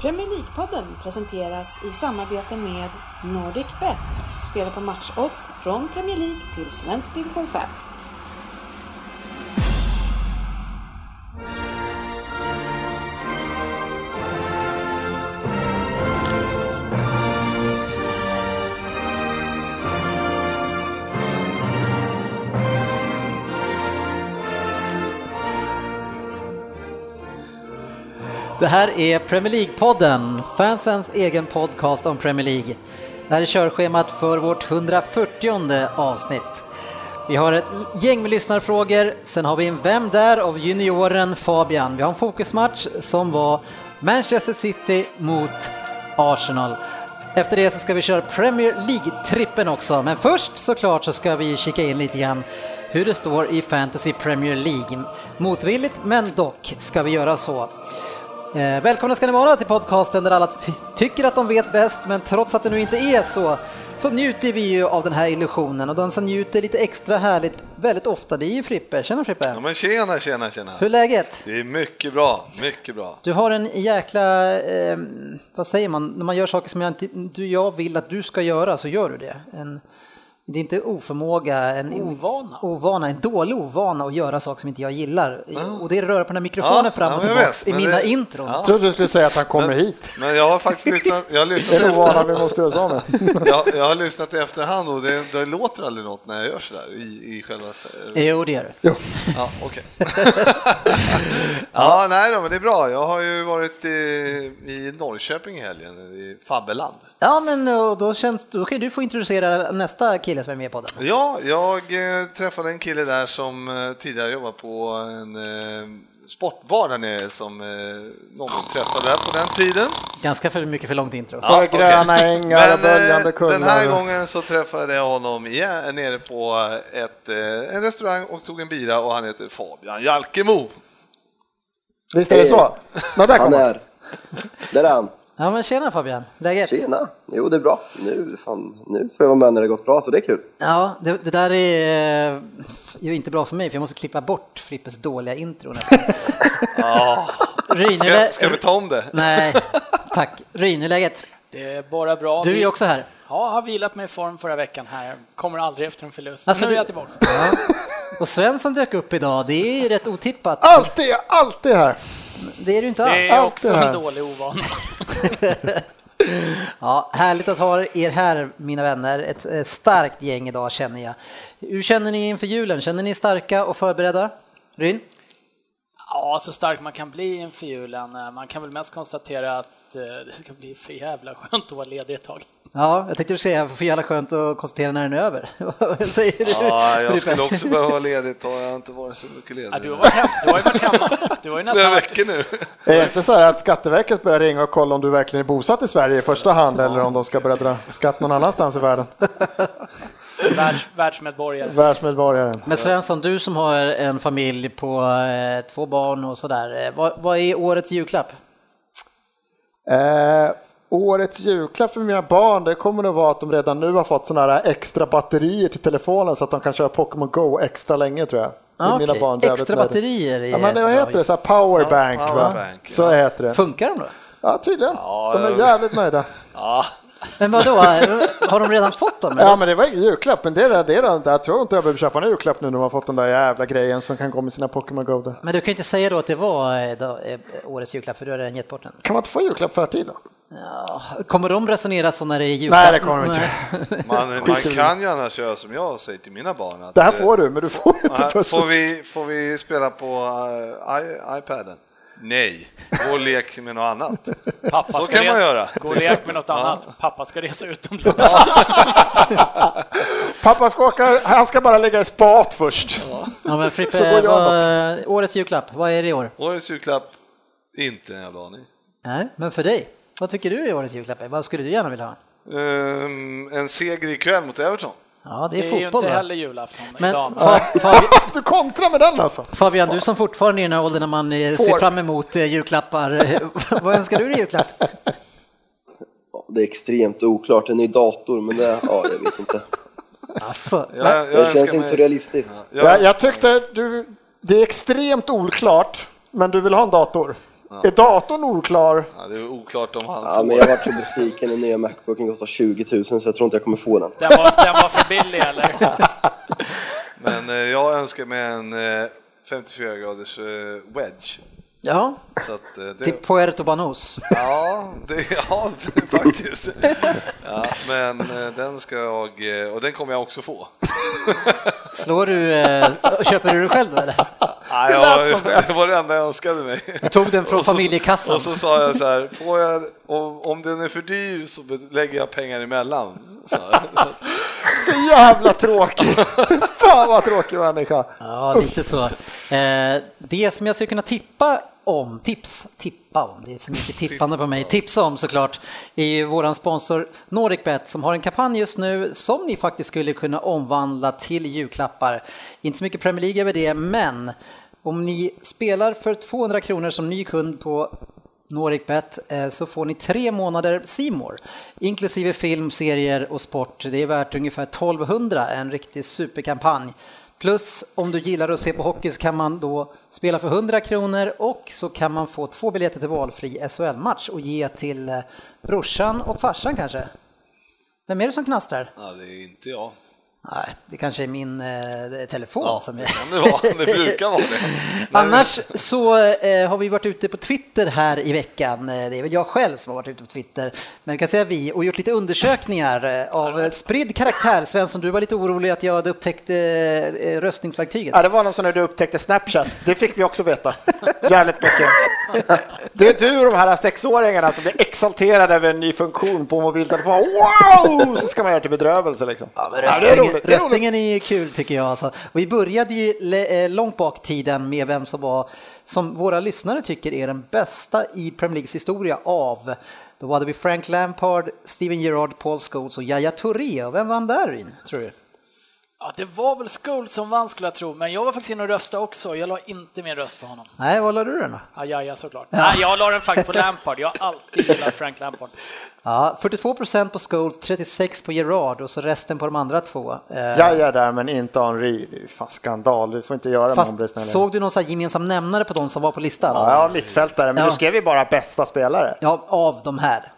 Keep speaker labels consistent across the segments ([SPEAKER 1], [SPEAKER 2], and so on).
[SPEAKER 1] Premier League-podden presenteras i samarbete med NordicBet. Spela på matchodds från Premier League till svensk division 5.
[SPEAKER 2] Det här är Premier League-podden, fansens egen podcast om Premier League. Det här är körschemat för vårt 140 avsnitt. Vi har ett gäng med lyssnarfrågor, sen har vi en Vem där? av junioren Fabian. Vi har en fokusmatch som var Manchester City mot Arsenal. Efter det så ska vi köra Premier League-trippen också, men först såklart så ska vi kika in lite grann hur det står i Fantasy Premier League. Motvilligt, men dock ska vi göra så. Eh, välkomna ska ni vara till podcasten där alla ty tycker att de vet bäst, men trots att det nu inte är så, så njuter vi ju av den här illusionen och den som njuter lite extra härligt väldigt ofta, det är ju Frippe. Tjena Frippe!
[SPEAKER 3] Ja, men tjena, tjena, tjena!
[SPEAKER 2] Hur är läget?
[SPEAKER 3] Det är mycket bra, mycket bra.
[SPEAKER 2] Du har en jäkla, eh, vad säger man, när man gör saker som jag, inte, du, jag vill att du ska göra så gör du det. En, det är inte oförmåga, en
[SPEAKER 4] ovana.
[SPEAKER 2] ovana, en dålig ovana att göra saker som inte jag gillar. Och det är att röra på den här mikrofonen
[SPEAKER 3] Ja,
[SPEAKER 2] fram och
[SPEAKER 3] ja, jag
[SPEAKER 2] tillbaka
[SPEAKER 3] vet,
[SPEAKER 2] i
[SPEAKER 3] men
[SPEAKER 2] mina
[SPEAKER 3] det-
[SPEAKER 2] intron.
[SPEAKER 3] Ja.
[SPEAKER 5] Jag trodde du skulle säga att han kommer hit.
[SPEAKER 3] Men jag har faktiskt lyssnat, jag har lyssnat,
[SPEAKER 5] En ovana
[SPEAKER 3] efter,
[SPEAKER 5] vi måste göra oss av med.
[SPEAKER 3] jag, jag har lyssnat i efterhand och det, det låter aldrig något när jag gör sådär i, i själva...
[SPEAKER 2] Jo, det gör du.
[SPEAKER 5] Jo.
[SPEAKER 3] Ja, okej. ja, nej då, men det är bra. Jag har ju varit i, i Norrköping i helgen, i Fabbeland.
[SPEAKER 2] Ja, men eh, och då, känns, då kan ju du få introducera nästa kille som är med på den.
[SPEAKER 3] Ja, jag eh, träffade en kille där som eh, tidigare jobbade på en eh, sportbar där nere som eh, någon träffade där på den tiden.
[SPEAKER 2] Ganska för mycket för långt intro.
[SPEAKER 5] Bara
[SPEAKER 3] okej.
[SPEAKER 5] gröna ängar och
[SPEAKER 3] Men, eh,
[SPEAKER 5] böljande
[SPEAKER 3] Den här
[SPEAKER 5] kullar.
[SPEAKER 3] gången så träffade jag honom igen, nere på ett, eh, en restaurang och tog en bira och han heter Fabian Jalkemo.
[SPEAKER 5] Visst
[SPEAKER 3] Eh,
[SPEAKER 5] är det så? Nå, där
[SPEAKER 6] Han
[SPEAKER 5] kom han.
[SPEAKER 6] är. Där är han.
[SPEAKER 2] Ja, men tjena Fabian, läget?
[SPEAKER 6] Tjena! Jo, det är bra. Nu, fan, nu får jag vara med när det gått bra, så det är kul.
[SPEAKER 2] Ja, det, det där är eh, ju inte bra för mig, för jag måste klippa bort Frippes dåliga intro nästan.
[SPEAKER 3] Ja,
[SPEAKER 2] Rynele...
[SPEAKER 3] ska, ska vi ta om det?
[SPEAKER 2] Nej, tack. Ryneläget.
[SPEAKER 4] Det är bara bra.
[SPEAKER 2] Du är
[SPEAKER 4] Vi-
[SPEAKER 2] ju också här.
[SPEAKER 4] Ja, har vilat mig i form förra veckan här. Kommer aldrig efter en förlust.
[SPEAKER 2] Alltså,
[SPEAKER 4] Men nu är jag
[SPEAKER 2] du-
[SPEAKER 4] tillbaka.
[SPEAKER 2] Och Svensson dök upp idag, det är ju rätt otippat.
[SPEAKER 5] Alltid, alltid här.
[SPEAKER 2] Det är du inte
[SPEAKER 4] Det
[SPEAKER 2] alls.
[SPEAKER 4] är
[SPEAKER 5] allt
[SPEAKER 4] också
[SPEAKER 5] det här.
[SPEAKER 4] en dålig ovana.
[SPEAKER 2] Ja, härligt att ha er här mina vänner. Ett eh, starkt gäng idag känner jag. Hur känner ni inför julen? Känner ni er starka och förberedda? Ryn?
[SPEAKER 4] Ja, så stark man kan bli inför julen. Eh, Man kan väl mest konstatera att eh, det ska bli för jävla skönt att vara ledig ett tag.
[SPEAKER 2] Ja, jag tänkte säga för jävla skönt att konstatera när den är över. Vad säger du?
[SPEAKER 3] Ja, jag skulle
[SPEAKER 2] Frippe?
[SPEAKER 3] också behöva vara ledigt och jag har inte varit så mycket ledig.
[SPEAKER 4] Ja, du, har varit hem, du har ju varit hemma. Du har ju
[SPEAKER 3] Flera
[SPEAKER 4] nästan varit,
[SPEAKER 3] veckor nu.
[SPEAKER 5] Är det inte så här att Skatteverket börjar ringa och kolla om du verkligen är bosatt i Sverige i första hand eller om de ska börja dra skatt någon annanstans i världen?
[SPEAKER 4] världs, världsmedborgare.
[SPEAKER 5] Världsmedborgaren.
[SPEAKER 2] Men Svensson, du som har en familj på eh, två barn och sådär. eh, Vad, vad är årets julklapp?
[SPEAKER 5] Eh, årets julklapp för mina barn det kommer nog vara att de redan nu har fått sådana här extra batterier till telefonen så att de kan köra Pokémon Go extra länge tror jag. Det är
[SPEAKER 2] Ah,
[SPEAKER 5] mina
[SPEAKER 2] okej.
[SPEAKER 5] barn jävligt
[SPEAKER 2] Extra
[SPEAKER 5] nöjda.
[SPEAKER 2] batterier är
[SPEAKER 5] Ja, men det- vad
[SPEAKER 2] bra
[SPEAKER 5] heter det? Så här powerbank,
[SPEAKER 3] Ja,
[SPEAKER 5] va?
[SPEAKER 3] powerbank,
[SPEAKER 5] Så
[SPEAKER 3] ja.
[SPEAKER 5] heter det.
[SPEAKER 2] Funkar de då?
[SPEAKER 5] Ja, tydligen.
[SPEAKER 3] Ja,
[SPEAKER 5] de är
[SPEAKER 3] ja.
[SPEAKER 5] jävligt nöjda.
[SPEAKER 3] Ja,
[SPEAKER 2] Men vadå, har de redan fått dem? eller?
[SPEAKER 5] Ja, men det var ingen julklapp. Men det är det, är det. Jag tror inte jag behöver köpa en julklapp nu när de har fått den där jävla grejen som kan gå med sina Pokémon Go. Där.
[SPEAKER 2] Men du kan ju inte säga då att det var eh, då, eh, årets julklapp, för du har redan gett bort den.
[SPEAKER 5] Kan man inte få julklapp förtid då?
[SPEAKER 2] Kommer de resonera så när det är julklapp?
[SPEAKER 5] Nej, det kommer de inte.
[SPEAKER 3] man, man kan ju annars göra som jag säger till mina barn. Att,
[SPEAKER 5] Det här
[SPEAKER 3] eh,
[SPEAKER 5] får du, men du får inte
[SPEAKER 3] Nej,
[SPEAKER 5] pussel.
[SPEAKER 3] Får vi, får vi spela på eh, I, iPaden? Nej, gå och lek med något annat.
[SPEAKER 4] Pappa
[SPEAKER 3] Så
[SPEAKER 4] ska
[SPEAKER 3] kan
[SPEAKER 4] re-
[SPEAKER 3] man göra.
[SPEAKER 4] Gå och
[SPEAKER 3] Till
[SPEAKER 4] lek
[SPEAKER 3] exempel.
[SPEAKER 4] med något
[SPEAKER 3] Ja.
[SPEAKER 4] annat. Pappa ska resa utomlands.
[SPEAKER 5] Pappa ska åka, han ska bara lägga i spat först.
[SPEAKER 2] Ja, men
[SPEAKER 5] Så går
[SPEAKER 2] Frippe,
[SPEAKER 5] jag
[SPEAKER 2] vad, årets julklapp, vad är det i år?
[SPEAKER 3] Årets julklapp, inte en jävla aning.
[SPEAKER 2] Nej, men för dig, vad tycker du är årets julklapp? Vad skulle du gärna vilja ha?
[SPEAKER 3] Ehm, en seger ikväll mot Everton.
[SPEAKER 2] Ja, det är
[SPEAKER 4] Det är ju
[SPEAKER 2] fotboll
[SPEAKER 4] inte
[SPEAKER 2] va?
[SPEAKER 4] heller julafton
[SPEAKER 2] Men
[SPEAKER 4] idag.
[SPEAKER 2] Fa- Fabi-
[SPEAKER 5] Du kontrar med den alltså.
[SPEAKER 2] Fabian, du som fortfarande är i den här åldern när man eh, ser
[SPEAKER 5] Får.
[SPEAKER 2] fram emot eh, julklappar, eh, vad önskar du dig i julklapp?
[SPEAKER 6] Ja, Det är extremt oklart. En ny dator, men det... Ja, jag vet inte.
[SPEAKER 2] Alltså,
[SPEAKER 3] Jag, jag
[SPEAKER 6] Det känns
[SPEAKER 3] önskar
[SPEAKER 6] inte
[SPEAKER 3] mig-
[SPEAKER 6] så realistiskt.
[SPEAKER 3] Ja,
[SPEAKER 5] Jag,
[SPEAKER 3] jag,
[SPEAKER 5] jag tyckte du, det är extremt oklart, men du vill ha en dator. Är datorn oklar?
[SPEAKER 3] Ja, det är oklart om han
[SPEAKER 6] Ja, men
[SPEAKER 3] får.
[SPEAKER 6] jag vart så besviken. Den nya Macbooken kostar 20 000 så jag tror inte jag kommer få den.
[SPEAKER 4] Den var, den var för billig eller?
[SPEAKER 3] Men eh, jag önskar mig en eh, 54 graders eh, wedge.
[SPEAKER 2] Ja,
[SPEAKER 3] Så att, eh,
[SPEAKER 2] till
[SPEAKER 3] det,
[SPEAKER 2] Puerto Banús.
[SPEAKER 3] ja, det, ja, faktiskt. Ja, men eh, den ska jag, eh, och den kommer jag också få.
[SPEAKER 2] Slår du, eh, köper du det själv då, eller?
[SPEAKER 3] Ja, jag, det var det enda jag önskade mig.
[SPEAKER 2] Du tog den från
[SPEAKER 3] Och så-
[SPEAKER 2] familjekassan.
[SPEAKER 3] Och så sa jag så här, får jag, om, om den är för dyr så lägger jag pengar emellan. Så, här.
[SPEAKER 5] Så jävla tråkig! Fan vad tråkig människa!
[SPEAKER 2] Ja, lite så. Eh, det som jag skulle kunna tippa om, tips, tippa om, det är så mycket tippande på mig, tipsa om såklart, är ju våran sponsor NordicBet som har en kampanj just nu som ni faktiskt skulle kunna omvandla till julklappar. Inte så mycket Premier League över det, men om ni spelar för 200 kronor som ny kund på NordicBet eh, så får ni tre månader Simor, inklusive film, serier och sport. Det är värt ungefär 1200, en riktig superkampanj. Plus om du gillar att se på hockey så kan man då spela för 100 kronor och så kan man få två biljetter till valfri SHL-match och ge till eh, brorsan och farsan kanske. Vem är det som knastrar?
[SPEAKER 3] Ja, det är inte jag.
[SPEAKER 2] Nej, det kanske är min eh, telefon
[SPEAKER 3] Ja,
[SPEAKER 2] som
[SPEAKER 3] det
[SPEAKER 2] är...
[SPEAKER 3] kan det vara. Det brukar vara det.
[SPEAKER 2] Annars så eh, har vi varit ute på Twitter här i veckan. Eh, Det är väl jag själv som har varit ute på Twitter, men vi kan säga vi, och gjort lite undersökningar eh, av eh, spridd karaktär. Svensson, du var lite orolig att jag hade upptäckt eh, eh, röstningsverktyget.
[SPEAKER 5] Ja, det var någon som när du upptäckte Snapchat. Det fick vi också veta. Jävligt mycket. Det är du och de här sexåringarna som blir exalterade över en ny funktion på mobiltelefon. Wow! Så ska man göra till bedrövelse liksom. Ja,
[SPEAKER 2] Men
[SPEAKER 5] det är
[SPEAKER 2] Röstningen,
[SPEAKER 5] roligt. Det är roligt.
[SPEAKER 2] röstningen är ju kul tycker jag. Alltså. Och vi började ju le- eh, långt bak i tiden med vem som var, som våra lyssnare tycker är den bästa i Premier Leagues historia av. Då hade vi Frank Lampard, Steven Gerrard, Paul Scholes och Yahya Touré. Och vem vann där Ryn, tror du?
[SPEAKER 4] Ja, det var väl Skuld som vann skulle jag tro, men jag var faktiskt inne och röstade också. Jag la inte min röst på honom.
[SPEAKER 2] Nej, vad la du den då?
[SPEAKER 4] Ajaja såklart. Nej, jag la den faktiskt på Lampard. Jag har alltid gillat Frank Lampard.
[SPEAKER 2] Ja, 42 procent på Scholes, 36 på Gerrard och så resten på de andra två. Eh,
[SPEAKER 5] Ja, ja, där, men inte Henri. Det är ju fan skandal. Du får inte göra med honom, blir
[SPEAKER 2] Fast
[SPEAKER 5] snällare.
[SPEAKER 2] såg du någon så här gemensam nämnare på de som var på listan?
[SPEAKER 5] Ja, mittfältare. Men
[SPEAKER 2] Ja.
[SPEAKER 5] du skrev ju bara bästa spelare.
[SPEAKER 2] Ja, av de här.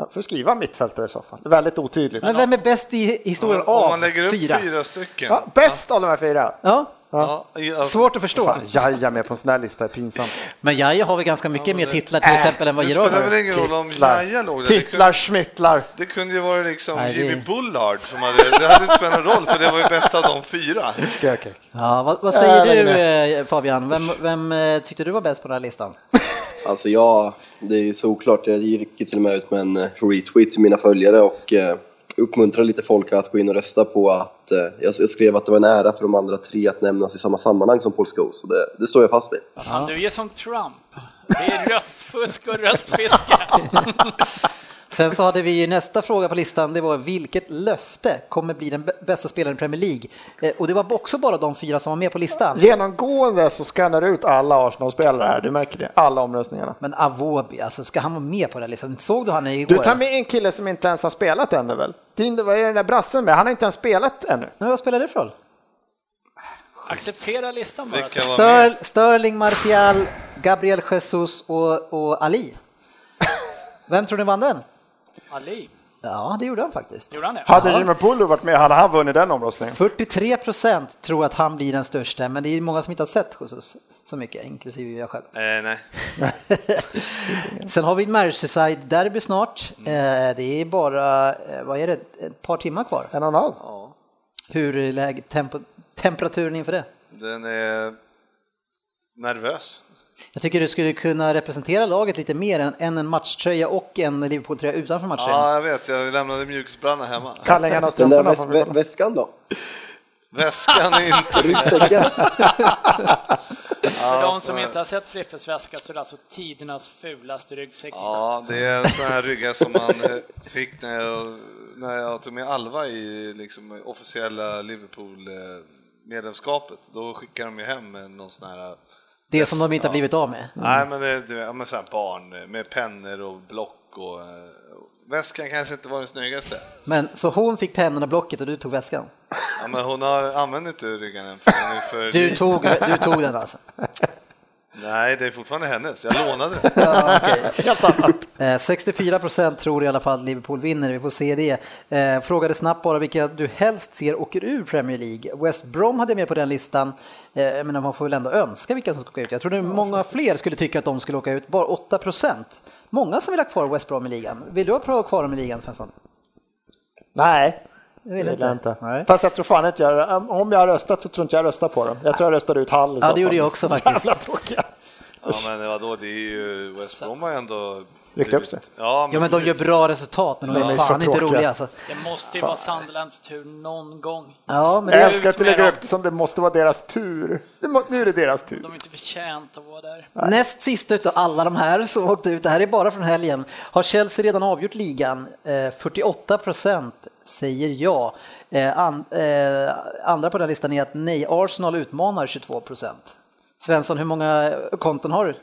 [SPEAKER 5] Ja, får skriva mittfältare i så fall. Det är väldigt otydligt.
[SPEAKER 2] Men vem är bäst i historien
[SPEAKER 3] Om
[SPEAKER 2] av
[SPEAKER 3] man lägger upp
[SPEAKER 2] fyra?
[SPEAKER 3] fyra, stycken.
[SPEAKER 5] Ja, bäst av de här fyra.
[SPEAKER 2] Ja,
[SPEAKER 3] Ja, i- alltså,
[SPEAKER 2] svårt att förstå.
[SPEAKER 5] Fan, Jaja med på en sån här lista är pinsamt.
[SPEAKER 2] Men Jaja har väl ganska mycket mer titlar till
[SPEAKER 5] Äh,
[SPEAKER 2] exempel än vad
[SPEAKER 3] det
[SPEAKER 2] Gerard
[SPEAKER 3] spelar
[SPEAKER 2] har.
[SPEAKER 3] väl ingen roll om Jaja låg där. Det kunde,
[SPEAKER 5] Titlar, schmittlar.
[SPEAKER 3] det kunde ju vara liksom
[SPEAKER 2] Nej, det-
[SPEAKER 3] Jimmy Bullard som hade, det hade inte spelat någon roll för det var ju bäst av de fyra.
[SPEAKER 5] Okej, okej.
[SPEAKER 2] Ja, vad, vad säger
[SPEAKER 5] Äh,
[SPEAKER 2] du
[SPEAKER 5] lägg
[SPEAKER 2] eh, Fabian? Vem, vem eh, tyckte du var bäst på den här listan?
[SPEAKER 6] Alltså jag, det är ju såklart, jag gick ju till och med ut med en eh, retweet till mina följare och eh, uppmuntrade lite folk att gå in och rösta på att eh, jag jag skrev att det var en ära för de andra tre att nämnas i samma sammanhang som Paul Scholes och det, det står jag fast vid.
[SPEAKER 4] Vad Fan, du är som Trump. Det är röstfusk och röstfiske.
[SPEAKER 2] Sen så hade vi ju nästa fråga på listan, det var vilket löfte kommer bli den b- bästa spelaren i Premier League? Eh, Och det var också bara de fyra som var med på listan.
[SPEAKER 5] Genomgående så scannar du ut alla Arsenal-spelare här, du märker det. Alla omröstningarna.
[SPEAKER 2] Men Avobi, alltså ska han vara med på den här listan? Såg du han igår?
[SPEAKER 5] Du tar med en kille som inte ens har spelat ännu väl? Din, vad är den där brassen med? Han har inte ens spelat ännu.
[SPEAKER 2] Nej, vad spelar det för roll?
[SPEAKER 4] Acceptera listan bara.
[SPEAKER 3] Vilka var med?
[SPEAKER 2] Stör, Sterling, Martial, Gabriel Jesus och, och Ali. Vem tror ni vann den?
[SPEAKER 4] Ali,
[SPEAKER 2] Ja, det gjorde han faktiskt.
[SPEAKER 4] gjorde han det?
[SPEAKER 5] Hade Jimmy Pullo varit med hade han vunnit den omröstningen.
[SPEAKER 2] 43 procent tror att han blir den största, men det är många som inte har sett Jesus så mycket, inklusive jag själv.
[SPEAKER 3] Eh, nej.
[SPEAKER 2] Sen har vi Merseyside-derby snart. Eh, Det är bara, eh, vad är det, ett par timmar kvar.
[SPEAKER 5] En och en halv.
[SPEAKER 2] Hur är läget, tempo, temperaturen inför det?
[SPEAKER 3] Den är nervös.
[SPEAKER 2] Jag tycker du skulle kunna representera laget lite mer än, än en matchtröja och en Liverpool-tröja utanför matchtröjan.
[SPEAKER 3] Ja, jag vet. Jag lämnade mjukisbrallorna hemma.
[SPEAKER 5] Kallingarna och
[SPEAKER 6] Den där
[SPEAKER 5] strumporna. får
[SPEAKER 6] väs
[SPEAKER 5] vi
[SPEAKER 6] vä-
[SPEAKER 5] kolla.
[SPEAKER 6] väskan då?
[SPEAKER 3] Väskan är inte...
[SPEAKER 6] Ryggsäcken?
[SPEAKER 4] För de som inte har sett Frippes väska så är det alltså tidernas fulaste ryggsäck.
[SPEAKER 3] Ja, det är sådana här ryggar som man eh, fick när jag, när jag tog med Alva i liksom, officiella Liverpool-medlemskapet. Då skickade de ju hem en- någon sån här... eh,
[SPEAKER 2] Det som de inte har blivit av med.
[SPEAKER 3] Nej, men det det- ja, men så här barn eh, med pennor och block och... eh, Väskan kanske inte var den snyggaste.
[SPEAKER 2] Men, så hon fick pennan och blocket och du tog väskan.
[SPEAKER 3] Ja, men hon har använder inte ryggen än för den är för
[SPEAKER 2] Du
[SPEAKER 3] liten.
[SPEAKER 2] tog, du tog den alltså.
[SPEAKER 3] Nej, det är fortfarande hennes. Jag lånade den.
[SPEAKER 2] Eh, 64 procent tror i alla fall Liverpool vinner, vi får se det. Eh, Frågade snabbt bara vilka du helst ser åker ur Premier League. West Brom hade jag med på den listan, eh, men man får väl ändå önska vilka som ska åka ut. Jag tror nu många fler skulle tycka att de skulle åka ut, bara 8 procent. Många som vill ha kvar West Brom i ligan. Vill du ha kvar- kvar dem i ligan Svensson?
[SPEAKER 5] Nej,
[SPEAKER 2] Det
[SPEAKER 5] det vill jag inte.
[SPEAKER 2] Nej.
[SPEAKER 5] Fast jag tror fan inte jag, om jag har röstat så tror inte jag röstar på dem. Jag tror jag röstade ut Hall i så
[SPEAKER 2] Ja, det gjorde
[SPEAKER 5] fall.
[SPEAKER 2] jag också faktiskt.
[SPEAKER 5] Jävla tråkiga.
[SPEAKER 3] Ja, men vadå, det är ju West Brom har ändå...
[SPEAKER 5] Ryckt upp sig.
[SPEAKER 3] Ja,
[SPEAKER 2] Ja men de gör
[SPEAKER 3] precis.
[SPEAKER 2] bra resultat men de
[SPEAKER 5] De
[SPEAKER 2] är
[SPEAKER 5] är så
[SPEAKER 2] fan inte
[SPEAKER 5] tråkiga.
[SPEAKER 2] roliga alltså.
[SPEAKER 4] Det måste ju vara Sunderlands tur någon gång.
[SPEAKER 2] Ja, men
[SPEAKER 5] Jag
[SPEAKER 2] det
[SPEAKER 4] är
[SPEAKER 5] älskar att du
[SPEAKER 4] ut med
[SPEAKER 5] lägger
[SPEAKER 4] dem.
[SPEAKER 5] upp det som det måste vara deras tur. Det må, nu är det deras tur.
[SPEAKER 4] De är inte förtjänta att vara där.
[SPEAKER 2] Näst sist utav alla de här som åkte ut, det här är bara från helgen, har Chelsea redan avgjort ligan. Eh, 48 procent säger ja. Eh, an, eh, andra på den listan är att nej, Arsenal utmanar 22 procent. Svensson, hur många konton har du?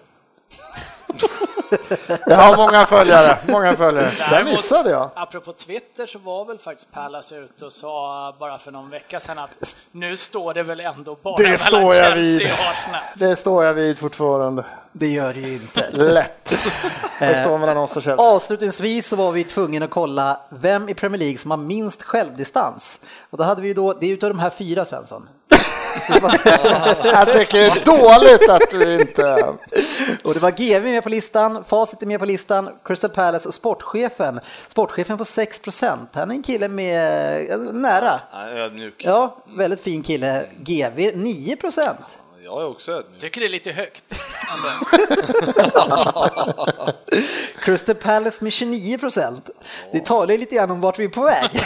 [SPEAKER 5] Jag har många följare. Många följare. Där missade jag.
[SPEAKER 4] Apropå Twitter så var väl faktiskt Palace ute och sa bara för någon vecka sedan att nu står det väl ändå bara
[SPEAKER 5] Det
[SPEAKER 4] mellan
[SPEAKER 5] står jag
[SPEAKER 4] Chelsea
[SPEAKER 5] vid.
[SPEAKER 4] och Arsenal.
[SPEAKER 5] Det står jag vid fortfarande.
[SPEAKER 2] Det gör det ju inte.
[SPEAKER 5] Lätt. Det
[SPEAKER 2] Eh,
[SPEAKER 5] står mellan oss och Chelsea.
[SPEAKER 2] Avslutningsvis så var vi tvungna att kolla vem i Premier League som har minst självdistans. Och då hade vi ju då, det är utav de här fyra Svensson.
[SPEAKER 5] Jag tycker det är dåligt att du inte...
[SPEAKER 2] Och det var GV med på listan, Facit är med på listan, Crystal Palace och sportchefen. Sportchefen på 6 Han är en kille med eh, nära.
[SPEAKER 3] Nej, ödmjuk. Ja.
[SPEAKER 2] Ja, väldigt fin kille. GV 9
[SPEAKER 3] Jag är också ödmjuk.
[SPEAKER 4] Tycker det är lite högt. ändå.
[SPEAKER 2] Crystal Palace med 29 Det talar ju lite grann om vart vi är på väg.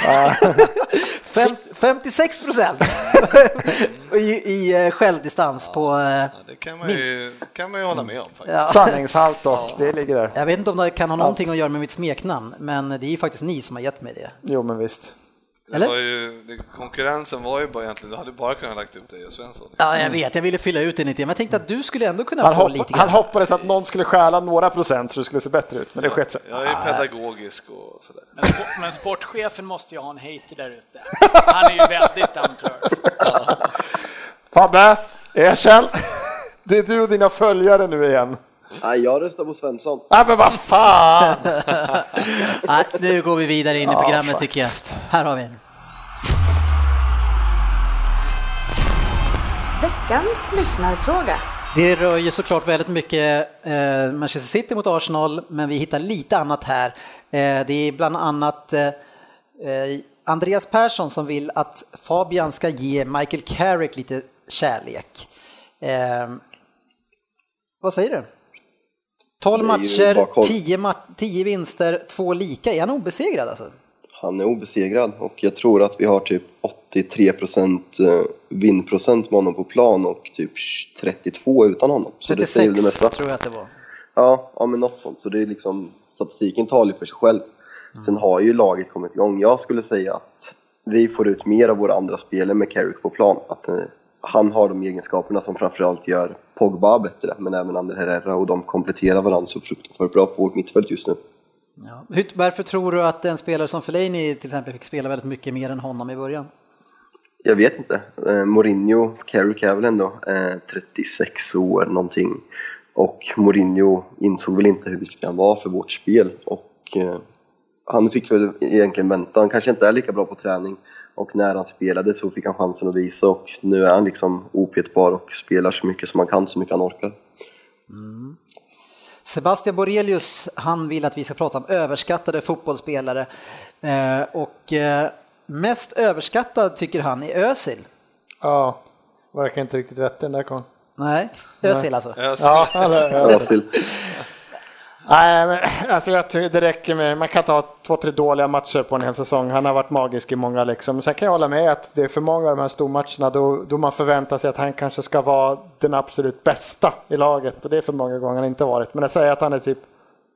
[SPEAKER 2] Fem, 56 i, i eh, självdistans på... eh,
[SPEAKER 3] Ja, det kan man, ju, kan man ju hålla med om faktiskt.
[SPEAKER 2] Ja.
[SPEAKER 5] Sanningshalt dock, det ligger där.
[SPEAKER 2] Jag vet inte om det kan ha någonting att göra med mitt smeknamn, men det är ju faktiskt ni som har gett mig det.
[SPEAKER 5] Jo men visst.
[SPEAKER 3] Det
[SPEAKER 2] Eller?
[SPEAKER 3] var ju, det, konkurrensen var ju bara egentligen, du hade bara kunnat lagt upp dig och Svensson.
[SPEAKER 2] Ja, jag vet, jag ville fylla ut det lite, men jag tänkte att du skulle ändå kunna
[SPEAKER 5] Han,
[SPEAKER 2] få
[SPEAKER 5] hopp,
[SPEAKER 2] lite grann.
[SPEAKER 5] han hoppades att någon skulle stjäla några procent så det skulle se bättre ut, men det sket sig.
[SPEAKER 3] Jag är ju pedagogisk och sådär.
[SPEAKER 4] Men, spo- men sportchefen måste ju ha en hater där ute. Han är ju väldigt antrör.
[SPEAKER 5] Fabbe, erkänn! Det är du och dina följare nu igen.
[SPEAKER 6] Nej, jag röstar på Svensson.
[SPEAKER 5] Nej men vad fan!
[SPEAKER 2] Nej, nu går vi vidare in i programmet tycker jag. Här har vi en.
[SPEAKER 1] Veckans lyssnarfråga.
[SPEAKER 2] Det rör ju såklart väldigt mycket eh, Manchester City mot Arsenal, men vi hittar lite annat här. Eh, det är bland annat eh, eh, Andreas Persson som vill att Fabian ska ge Michael Carrick lite kärlek. Eh, vad säger du? 12
[SPEAKER 6] Det är ju bara
[SPEAKER 2] matcher,
[SPEAKER 6] koll.
[SPEAKER 2] 10, ma- 10 vinster, 2 lika. Är han obesegrad alltså?
[SPEAKER 6] Han är obesegrad och jag tror att vi har typ 83% eh, vinnprocent med honom på plan och typ 32 utan honom. Så det säger väl det
[SPEAKER 2] 36
[SPEAKER 6] mesta.
[SPEAKER 2] tror jag att det var.
[SPEAKER 6] Ja, ja, men något sånt. Så det är liksom, statistiken talar ju för sig själv. Sen har ju laget kommit igång. Jag skulle säga att vi får ut mer av våra andra spelare med Carrick på plan. Att eh, han har de egenskaperna som framförallt gör Pogba bättre, men även Ander Herrera och de kompletterar varandra så fruktansvärt bra på vårt mittfält just nu.
[SPEAKER 2] Ja. Hur, varför tror du att en spelare som Fellaini till exempel fick spela väldigt mycket mer än honom i början?
[SPEAKER 6] Jag vet inte. Eh, Mourinho, Carrick är väl ändå eh, 36 år någonting. Och Mourinho insåg väl inte hur viktig han var för vårt spel. Och eh, han fick väl egentligen vänta. Han kanske inte är lika bra på träning. Och när han spelade så fick han chansen att visa och nu är han liksom opetbar och spelar så mycket som han kan, så mycket han orkar.
[SPEAKER 2] Sebastian Borelius, han vill att vi ska prata om överskattade fotbollsspelare. Eh, och eh, mest överskattad tycker han är Özil.
[SPEAKER 5] Ja, verkar inte riktigt vettig den där kon.
[SPEAKER 2] Nej, Özil alltså.
[SPEAKER 3] Ös,
[SPEAKER 5] Ja, eller, ja.
[SPEAKER 6] Özil.
[SPEAKER 5] Nej, men alltså jag tycker det räcker med, man kan inte ha två, tre dåliga matcher på en hel säsong. Han har varit magisk i många liksom. Men Sen kan jag hålla med att det är för många av de här stormatcherna då, då man förväntar sig att han kanske ska vara den absolut bästa i laget. Och det är för många gånger han inte varit. Men att säga att han är typ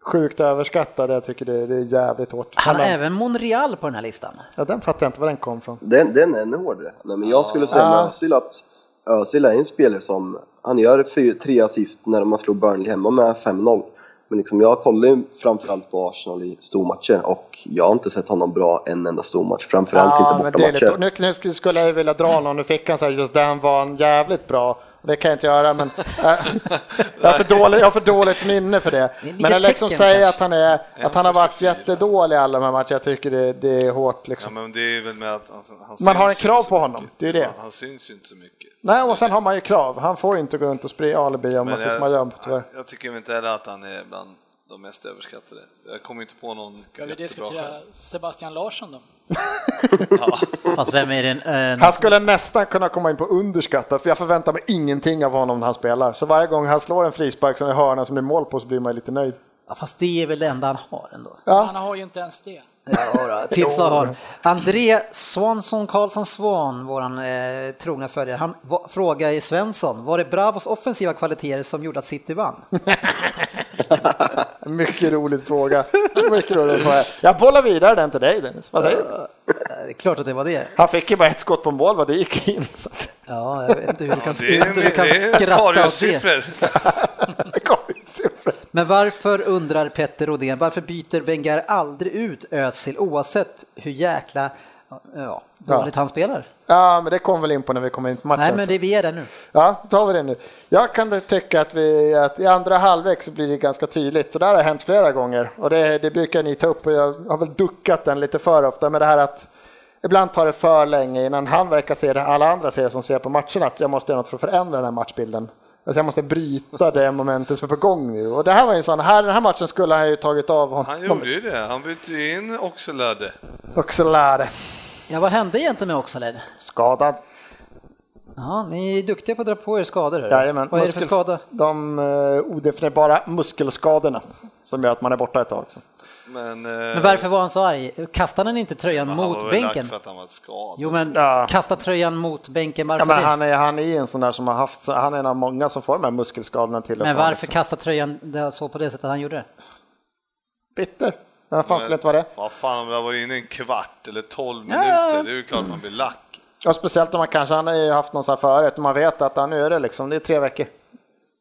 [SPEAKER 5] sjukt överskattad, jag tycker det, det är jävligt hårt.
[SPEAKER 2] Han har
[SPEAKER 5] har-
[SPEAKER 2] även Monreal på den här listan.
[SPEAKER 5] ja, den fattar jag inte var den kom från.
[SPEAKER 6] Den, den är ännu hårdare. Nej, men jag skulle säga med Özil att Özil är ju en spelare som, han gör fy- tre assist när man slog Burnley hemma med 5-0. Men liksom, jag kollar ju framförallt på Arsenal i stormatcher och jag har inte sett honom bra en enda stormatch. Framförallt
[SPEAKER 5] Ja,
[SPEAKER 6] inte
[SPEAKER 5] men det är lite,
[SPEAKER 6] bortamatcher.
[SPEAKER 5] nu, nu skulle jag vilja dra någon ur fickan så här, just den var en jävligt bra. Det kan jag inte göra, men jag, jag, har för dåligt, jag har för dåligt minne för det.
[SPEAKER 2] Det är lite
[SPEAKER 5] Men jag liksom
[SPEAKER 2] tecken,
[SPEAKER 5] säger
[SPEAKER 2] kanske.
[SPEAKER 5] att han, är, att han har varit
[SPEAKER 3] 1,24.
[SPEAKER 5] jättedålig i alla de här matcherna. Jag tycker det, det är hårt.
[SPEAKER 3] Ja,
[SPEAKER 5] Liksom.
[SPEAKER 3] men det är väl med att han, han
[SPEAKER 5] Man har
[SPEAKER 3] syns
[SPEAKER 5] en krav
[SPEAKER 3] inte så
[SPEAKER 5] på honom,
[SPEAKER 3] mycket.
[SPEAKER 5] det är det.
[SPEAKER 3] Han, han syns ju inte så mycket.
[SPEAKER 5] Nej, och sen har man ju krav. Han får ju inte gå runt och sprida alibi om man ser som har gömt.
[SPEAKER 3] jag,
[SPEAKER 5] tyvärr.
[SPEAKER 3] jag tycker inte heller att han är bland de mest överskattade. Jag kommer inte på någon
[SPEAKER 4] Ska vi
[SPEAKER 3] jättebra
[SPEAKER 4] diskutera
[SPEAKER 3] själv.
[SPEAKER 4] Sebastian Larsson då?
[SPEAKER 2] Fast vem är den? Eh,
[SPEAKER 5] Han skulle nästan kunna komma in på underskattad, för jag förväntar mig ingenting av honom när han spelar. Så varje gång han slår en frispark som är hörna som blir mål på så blir man ju lite nöjd.
[SPEAKER 2] ja, fast det är väl det enda han har ändå.
[SPEAKER 5] Ja.
[SPEAKER 4] Han har ju inte ens det.
[SPEAKER 2] Tillslag har. André Svansson Karlsson Svan, våran eh, trogna följare, han va- frågar ju Svensson, var det Bravos offensiva kvaliteter som gjorde att City vann?
[SPEAKER 5] Mycket rolig fråga. Mycket rolig fråga. Jag bollar vidare den till dig Dennis. Vad säger du?
[SPEAKER 2] Eh, det är klart att det var det.
[SPEAKER 5] Han fick ju bara ett skott på mål vad det gick in. Så att,
[SPEAKER 2] Ja, jag vet inte hur du kan,
[SPEAKER 3] Det är,
[SPEAKER 2] inte hur du kan
[SPEAKER 3] det är
[SPEAKER 2] skratta åt det.
[SPEAKER 3] Karius-siffror.
[SPEAKER 5] det kom in siffror.
[SPEAKER 2] Men varför undrar Petter Rodén, varför byter Wenger aldrig ut Özil oavsett hur jäkla ja, dåligt han spelar?
[SPEAKER 5] ja, men det kom väl in på när vi kom in på matchen.
[SPEAKER 2] Nej, men det är vi är där nu.
[SPEAKER 5] Ja, då tar vi det nu. Jag kan tycka att, vi, att i andra halvlek så blir det ganska tydligt och det här har hänt flera gånger och det, det brukar ni ta upp och jag har väl duckat den lite för ofta med det här att ibland tar det för länge innan han verkar se det alla andra ser som ser på matchen att jag måste göra något för att förändra den här matchbilden. Alltså jag måste bryta det momentet som är på gång nu och det här var ju en sån, här, den här matchen skulle han ju tagit av honom.
[SPEAKER 3] Han gjorde ju det. Han bytte ju in Oxelöde.
[SPEAKER 5] Också lärde.
[SPEAKER 2] Ja, vad hände egentligen med Oxaled?
[SPEAKER 5] Skadad.
[SPEAKER 2] Ja, ni är duktiga på att dra på er skador. hörru.
[SPEAKER 5] Jajamän.
[SPEAKER 2] Vad är det för
[SPEAKER 5] Muskels-
[SPEAKER 2] skada?
[SPEAKER 5] De eh, odefinierbara muskelskadorna som gör att man är borta ett tag. Också.
[SPEAKER 3] Men,
[SPEAKER 2] Men varför var han så arg? Kastade han inte tröjan mot bänken?
[SPEAKER 3] för att han var skadad.
[SPEAKER 2] Jo men
[SPEAKER 5] Ja.
[SPEAKER 2] kasta tröjan mot bänken, varför
[SPEAKER 5] Ja, men
[SPEAKER 2] Alltså, det?
[SPEAKER 5] han, är, han är en sån där som har haft, han är en av många som får de här muskelskadorna till och
[SPEAKER 2] Men
[SPEAKER 5] från,
[SPEAKER 2] varför
[SPEAKER 5] liksom.
[SPEAKER 2] kasta tröjan där så på det sättet han gjorde?
[SPEAKER 5] Bitter. Men vad fan skulle det inte vara det?
[SPEAKER 3] Vad fan om det har varit inne en kvart eller 12
[SPEAKER 2] Ja, ja.
[SPEAKER 3] minuter, det är ju klart man blir lack.
[SPEAKER 5] Och speciellt om man kanske, han har ju haft någon sån här förut, man vet att han, nu är det liksom, det är tre veckor.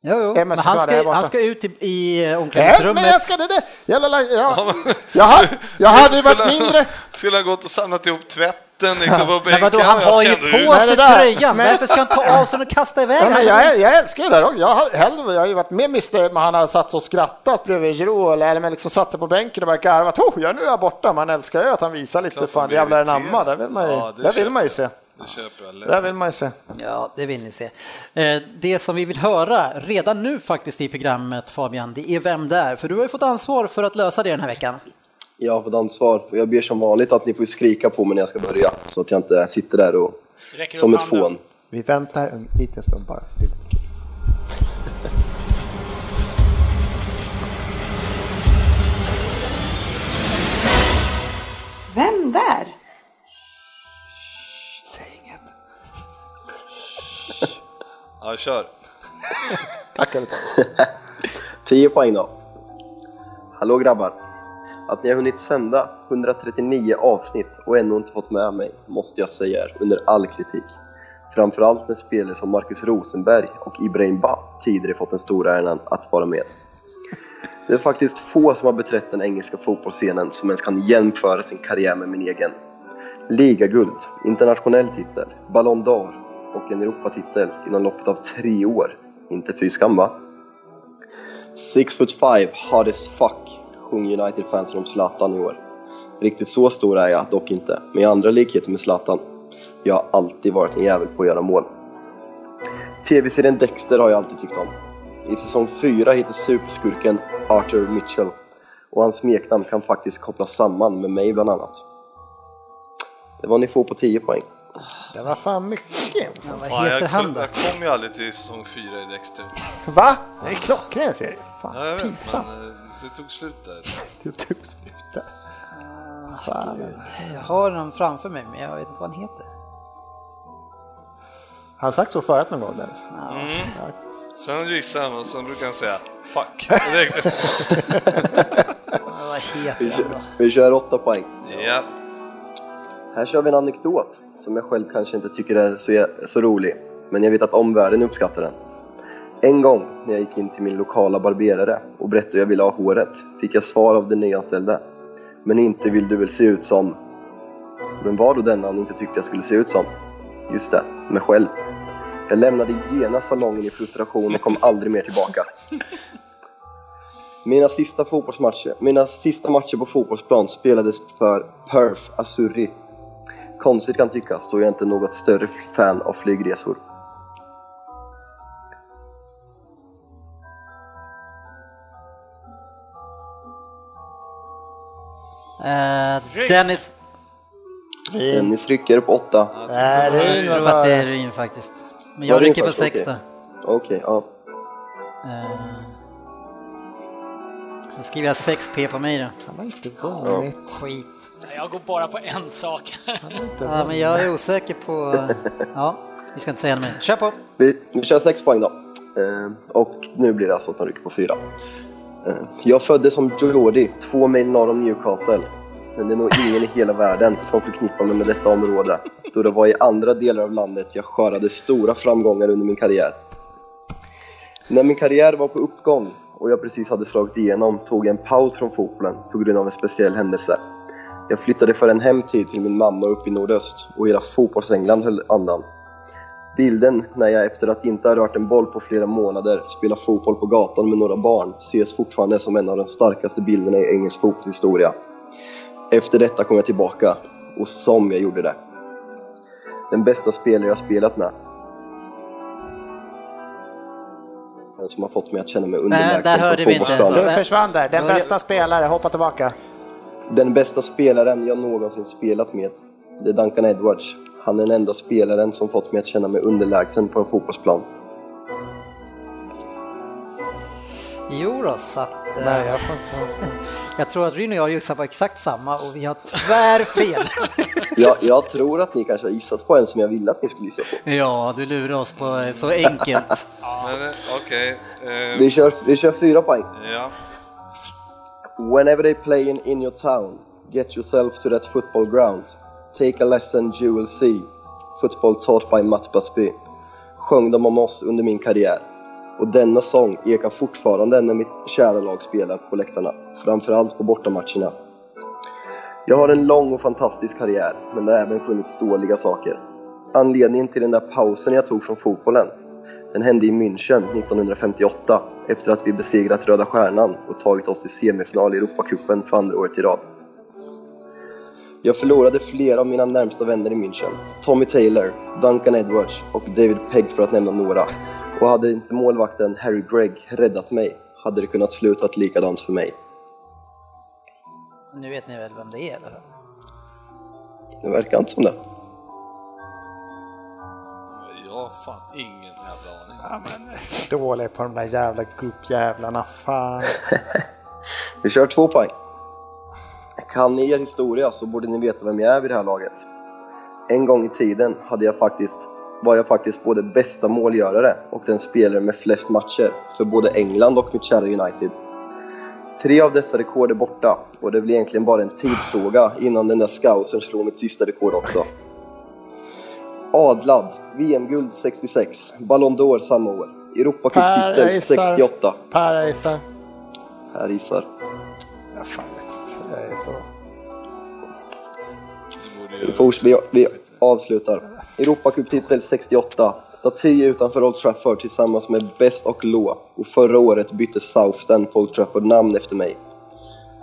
[SPEAKER 2] Jo, jo.
[SPEAKER 5] men
[SPEAKER 2] Men
[SPEAKER 5] så
[SPEAKER 2] han,
[SPEAKER 5] sa det här
[SPEAKER 2] ska,
[SPEAKER 5] borta.
[SPEAKER 2] han ska ut i, i eh,
[SPEAKER 5] Nej,
[SPEAKER 2] omklädningsrummet.
[SPEAKER 5] Äh, men jag ska det, det. Jävla, la- ja. jag, hade, jag hade ju varit mindre.
[SPEAKER 3] Skulle ha gått och samlat ihop tvätten liksom, på
[SPEAKER 2] Men
[SPEAKER 3] bänken.
[SPEAKER 2] vadå, han
[SPEAKER 3] Jag
[SPEAKER 2] har
[SPEAKER 3] ska
[SPEAKER 2] ju
[SPEAKER 3] ändå ut.
[SPEAKER 2] på
[SPEAKER 5] Nej,
[SPEAKER 2] sig
[SPEAKER 5] det där.
[SPEAKER 2] tröjan,
[SPEAKER 5] Men-
[SPEAKER 2] varför ska han ta av sig den och kasta iväg
[SPEAKER 5] Ja,
[SPEAKER 2] den?
[SPEAKER 5] men jag, jag älskar ju det där också. Jag har hellre, jag har ju varit mer missnöjd med han hade satt sig och skrattat bredvid Giroud eller, eller men liksom satt sig på bänken och bara garvat. Oh, jag, nu är jag borta. Man älskar ju att han visar lite
[SPEAKER 3] Klart
[SPEAKER 5] fan
[SPEAKER 3] man blir
[SPEAKER 5] jävlar anamma.
[SPEAKER 3] irriterad.
[SPEAKER 5] Där vill man
[SPEAKER 3] Ja, det köper
[SPEAKER 5] ju, där vill man ju
[SPEAKER 3] jag.
[SPEAKER 5] se.
[SPEAKER 3] Det köper jag lätt.
[SPEAKER 5] Där vill man ju se.
[SPEAKER 2] Ja, det vill ni se. Eh, Det som vi vill höra redan nu faktiskt i programmet Fabian, det är Vem där? För du har ju fått ansvar för att lösa det den här veckan.
[SPEAKER 6] Jag har fått ansvar. Jag ber som vanligt att ni får skrika på mig när jag ska börja så att jag inte sitter där och
[SPEAKER 4] Räcker
[SPEAKER 6] som
[SPEAKER 4] upp
[SPEAKER 6] ett
[SPEAKER 4] handen.
[SPEAKER 6] fån.
[SPEAKER 5] Vi väntar en liten stund bara.
[SPEAKER 7] Vem där?
[SPEAKER 3] Ja, kör.
[SPEAKER 5] Tackar vi
[SPEAKER 6] 10 poäng då. Hallå grabbar! Att ni har hunnit sända 139 avsnitt och ännu inte fått med mig måste jag säga är under all kritik. Framförallt när spelare som Marcus Rosenberg och Ibrahim Ba tidigare fått den stora äran att vara med. Det är faktiskt få som har beträtt den engelska fotbollsscenen som ens kan jämföra sin karriär med min egen. Ligaguld, internationell titel, Ballon d'Or och en Europatitel inom loppet av tre år. Inte fy skam va? Six foot five, hard as fuck, sjunger United-fansen om Zlatan i år. Riktigt så stor är jag dock inte, men jag har andra likheter med Zlatan. Jag har alltid varit en jävel på att göra mål. TV-serien Dexter har jag alltid tyckt om. I säsong 4 heter superskurken Arthur Mitchell och hans smeknamn kan faktiskt kopplas samman med mig bland annat. Det var ni får på 10 poäng.
[SPEAKER 5] Det var fan mycket.
[SPEAKER 2] Ja,
[SPEAKER 3] Fan,
[SPEAKER 2] vad
[SPEAKER 3] jag,
[SPEAKER 2] heter han
[SPEAKER 3] kom,
[SPEAKER 2] då?
[SPEAKER 3] jag kom ju aldrig till säsong 4 i Dexter.
[SPEAKER 5] Va? Det är klockren serie.
[SPEAKER 3] Ja, jag
[SPEAKER 5] Fan,
[SPEAKER 3] vet,
[SPEAKER 5] pinsamt.
[SPEAKER 3] men eh, det tog slut där.
[SPEAKER 5] Det tog slut där. Fan.
[SPEAKER 2] Jag har honom framför mig, men jag vet inte vad han heter.
[SPEAKER 5] Har han sagt så förut någon gång Dennis?
[SPEAKER 3] Sen gissade han och sen brukar han säga fuck. Direkt efter.
[SPEAKER 2] Ja, Vad heter
[SPEAKER 6] Vi
[SPEAKER 2] han då?
[SPEAKER 6] kör, vi kör 8 poäng.
[SPEAKER 3] ja.
[SPEAKER 6] Här kör vi en anekdot som jag själv kanske inte tycker är så, så rolig, men jag vet att omvärlden uppskattar den. En gång när jag gick in till min lokala barberare och berättade hur jag ville ha håret fick jag svar av den nyanställde. Men inte vill du väl se ut som... Men var då denna han inte tyckte jag skulle se ut som? Just det, mig själv. Jag lämnade genast salongen i frustration och kom aldrig mer tillbaka. Mina sista fotbollsmatcher, mina sista matcher på fotbollsplan spelades för Perth Azzurri. Konstigt kan tyckas då jag inte är något större fan av flygresor.
[SPEAKER 2] Eh, Dennis,
[SPEAKER 6] Dennis rycker Eh, på åtta.
[SPEAKER 5] Nej, det är
[SPEAKER 2] jag tror att det är ruin faktiskt. Men jag
[SPEAKER 6] Var det
[SPEAKER 2] rycker på
[SPEAKER 6] först?
[SPEAKER 2] sex då.
[SPEAKER 6] Okej. Okej, ja.
[SPEAKER 2] Eh, Då skriver jag 6p på mig då.
[SPEAKER 5] Han var inte vanligt.
[SPEAKER 2] Skit.
[SPEAKER 4] Jag går bara på en sak.
[SPEAKER 2] Ja, men jag är osäker på... Ja, vi ska inte säga mer. Kör på!
[SPEAKER 6] Vi, vi kör sex poäng då. Eh, och nu blir det alltså att de rycker på fyra. Eh, jag föddes som Jordi, två mil norr om Newcastle. Men det är nog ingen i hela världen som förknippar mig med detta område. Då det var i andra delar av landet jag skördade stora framgångar under min karriär. När min karriär var på uppgång och jag precis hade slagit igenom tog jag en paus från fotbollen på grund av en speciell händelse. Jag flyttade för en hemtid till min mamma uppe i nordöst och hela fotbolls-England höll andan. Bilden när jag efter att inte ha rört en boll på flera månader spelar fotboll på gatan med några barn ses fortfarande som en av de starkaste bilderna i engelsk fotbollshistoria. Efter detta kom jag tillbaka, och som jag gjorde det. Den bästa spelare jag spelat med. Den som har fått mig att känna mig underlägsen
[SPEAKER 2] där
[SPEAKER 6] på
[SPEAKER 2] hörde vi inte.
[SPEAKER 6] fotbollsplanen.
[SPEAKER 5] Du försvann där. Den bästa spelare, hoppa tillbaka.
[SPEAKER 6] Den bästa spelaren jag någonsin spelat med, det är Duncan Edwards. Han är den enda spelaren som fått mig att känna mig underlägsen på en fotbollsplan.
[SPEAKER 2] Jo då, så att, eh,
[SPEAKER 5] Nej, jag får inte.
[SPEAKER 2] jag tror att Ryn och jag gissar på exakt samma och vi har tvärfel.
[SPEAKER 6] Jag, jag tror att ni kanske har gissat på en som jag ville att ni skulle gissa på.
[SPEAKER 2] ja, du lurar oss på eh, så enkelt.
[SPEAKER 3] Men, eh, Okej. eh,
[SPEAKER 6] Vi kör, vi kör fyra poäng.
[SPEAKER 3] Ja.
[SPEAKER 6] Whenever they play in, in your town, get yourself to that football ground. Take a lesson you will see. Football taught by Matt Busby. Sjöng de om oss under min karriär. Och denna sång ekar fortfarande när mitt kära lag spelar på läktarna. Framförallt på bortamatcherna. Jag har en lång och fantastisk karriär, men det har även funnits dåliga saker. Anledningen till den där pausen jag tog från fotbollen, den hände i München 1958 efter att vi besegrat Röda Stjärnan och tagit oss till semifinal i Europacupen för andra året i rad. Jag förlorade flera av mina närmsta vänner i München. Tommy Taylor, Duncan Edwards och David Pegg för att nämna några. Och hade inte målvakten Harry Gregg räddat mig hade det kunnat slutat likadant för mig.
[SPEAKER 2] Nu vet ni väl vem det är? Eller?
[SPEAKER 6] Det verkar inte som det.
[SPEAKER 3] Jag har fan ingen jävla aning.
[SPEAKER 5] Dålig på de där jävla gubbjävlarna. Fan.
[SPEAKER 6] Vi kör två poäng. Kan ni er historia så borde ni veta vem jag är vid det här laget. En gång i tiden hade jag faktiskt, var jag faktiskt både bästa målgörare och den spelare med flest matcher för både England och mitt kära United. Tre av dessa rekord är borta och det är väl egentligen bara en tidsfråga innan den där scousen slår mitt sista rekord också. Adlad, VM-guld 66, Ballon d'Or samma år,
[SPEAKER 5] Per, jag
[SPEAKER 6] Europacup-titel
[SPEAKER 5] gissar.
[SPEAKER 6] 68.
[SPEAKER 5] Per, jag gissar.
[SPEAKER 6] Här gissar.
[SPEAKER 5] Jag fan vet inte. Jag är så...
[SPEAKER 3] Det borde
[SPEAKER 6] Vi,
[SPEAKER 3] ju...
[SPEAKER 6] forts- vi, vi avslutar. Europacup-titel 68. Staty utanför Old Trafford tillsammans med Best och Law. Och förra året bytte Southstand på Old Trafford namn efter mig.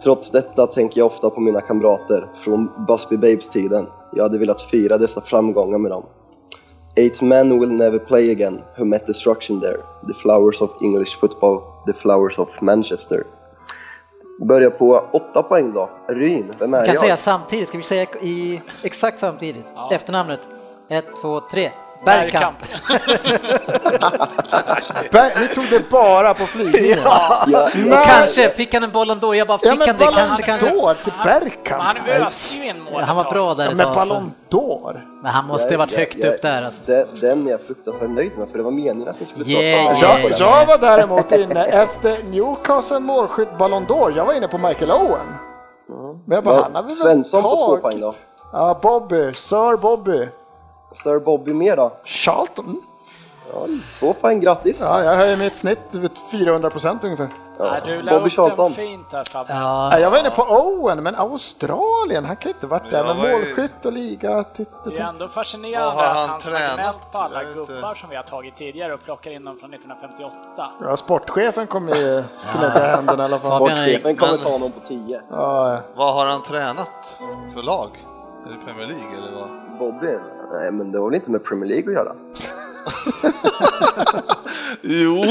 [SPEAKER 6] Trots detta tänker jag ofta på mina kamrater från Busby Babes-tiden. Jag hade velat fira dessa framgångar med dem. Eight men will never play again who met destruction there. The flowers of English football, the flowers of Manchester. Börja på åtta poäng då. Ryn, vem är
[SPEAKER 2] Vi kan
[SPEAKER 6] jag?
[SPEAKER 2] säga samtidigt, ska vi säga i, exakt samtidigt?
[SPEAKER 4] Ja.
[SPEAKER 2] Efternamnet? 1, 2, 3. Bergkamp!
[SPEAKER 5] Ber- Ni tog det bara på flygningen.
[SPEAKER 6] Jag-
[SPEAKER 5] Nej.
[SPEAKER 2] Kanske, fick han en boll ändå? Jag bara, fick
[SPEAKER 5] Ja, men
[SPEAKER 2] han det?
[SPEAKER 5] Ballon
[SPEAKER 2] Kanske, kanske?
[SPEAKER 5] d'Or till
[SPEAKER 4] Men han
[SPEAKER 5] Bergkamp.
[SPEAKER 4] öste ju in målet
[SPEAKER 2] Han var
[SPEAKER 4] ett tag.
[SPEAKER 2] bra där
[SPEAKER 5] Ja,
[SPEAKER 2] ett
[SPEAKER 5] men
[SPEAKER 2] tag. alltså.
[SPEAKER 5] Ballon d'Or.
[SPEAKER 2] Men han måste ha varit högt upp där alltså.
[SPEAKER 6] Den, den är jag fruktansvärt nöjd med, för det var meningen att ni skulle
[SPEAKER 2] Yeah,
[SPEAKER 6] ta
[SPEAKER 2] yeah.
[SPEAKER 6] fan
[SPEAKER 5] Jag, jag var däremot inne efter Newcastle målskytt Ballon d'Or. Jag var inne på Michael Owen. Men jag bara, han har
[SPEAKER 6] Vad-
[SPEAKER 5] väl
[SPEAKER 6] Svensson på två
[SPEAKER 5] tagit-
[SPEAKER 6] poäng då.
[SPEAKER 5] Ja, Bobby. Sir Bobby.
[SPEAKER 6] Sir Bobby mer då?
[SPEAKER 5] Charlton.
[SPEAKER 6] Ja, två poäng, grattis!
[SPEAKER 5] Ja, jag höjer mitt snitt med 400 procent ungefär.
[SPEAKER 4] Nej, du la
[SPEAKER 6] Bobby
[SPEAKER 4] upp
[SPEAKER 6] tjatar
[SPEAKER 4] den
[SPEAKER 6] om.
[SPEAKER 4] fint där Fabbe.
[SPEAKER 2] Ja,
[SPEAKER 5] Nej, Jag var inne på Owen, men Australien, han kan inte varit där.
[SPEAKER 3] jag
[SPEAKER 5] Men
[SPEAKER 3] var ju-
[SPEAKER 5] målskytt och liga,
[SPEAKER 4] Det är
[SPEAKER 5] titta
[SPEAKER 4] ändå
[SPEAKER 3] Vad
[SPEAKER 4] fascinerande
[SPEAKER 3] har
[SPEAKER 4] att
[SPEAKER 3] han
[SPEAKER 4] han
[SPEAKER 3] tränat?
[SPEAKER 4] tränat på alla
[SPEAKER 3] Jag vet inte.
[SPEAKER 4] gubbar som vi har tagit tidigare och plockar in dem från 1958.
[SPEAKER 5] på. Ja, sportchefen kommer ju knäcka händerna i alla fall.
[SPEAKER 2] Fabian är
[SPEAKER 6] Sportchefen kommer
[SPEAKER 3] Men-
[SPEAKER 6] ta honom på 10.
[SPEAKER 5] Ja, ja.
[SPEAKER 3] Vad har han tränat för lag? Är det Premier League eller vad?
[SPEAKER 6] Bobby? Nej, men det har väl inte med Premier League att göra?
[SPEAKER 3] Jo,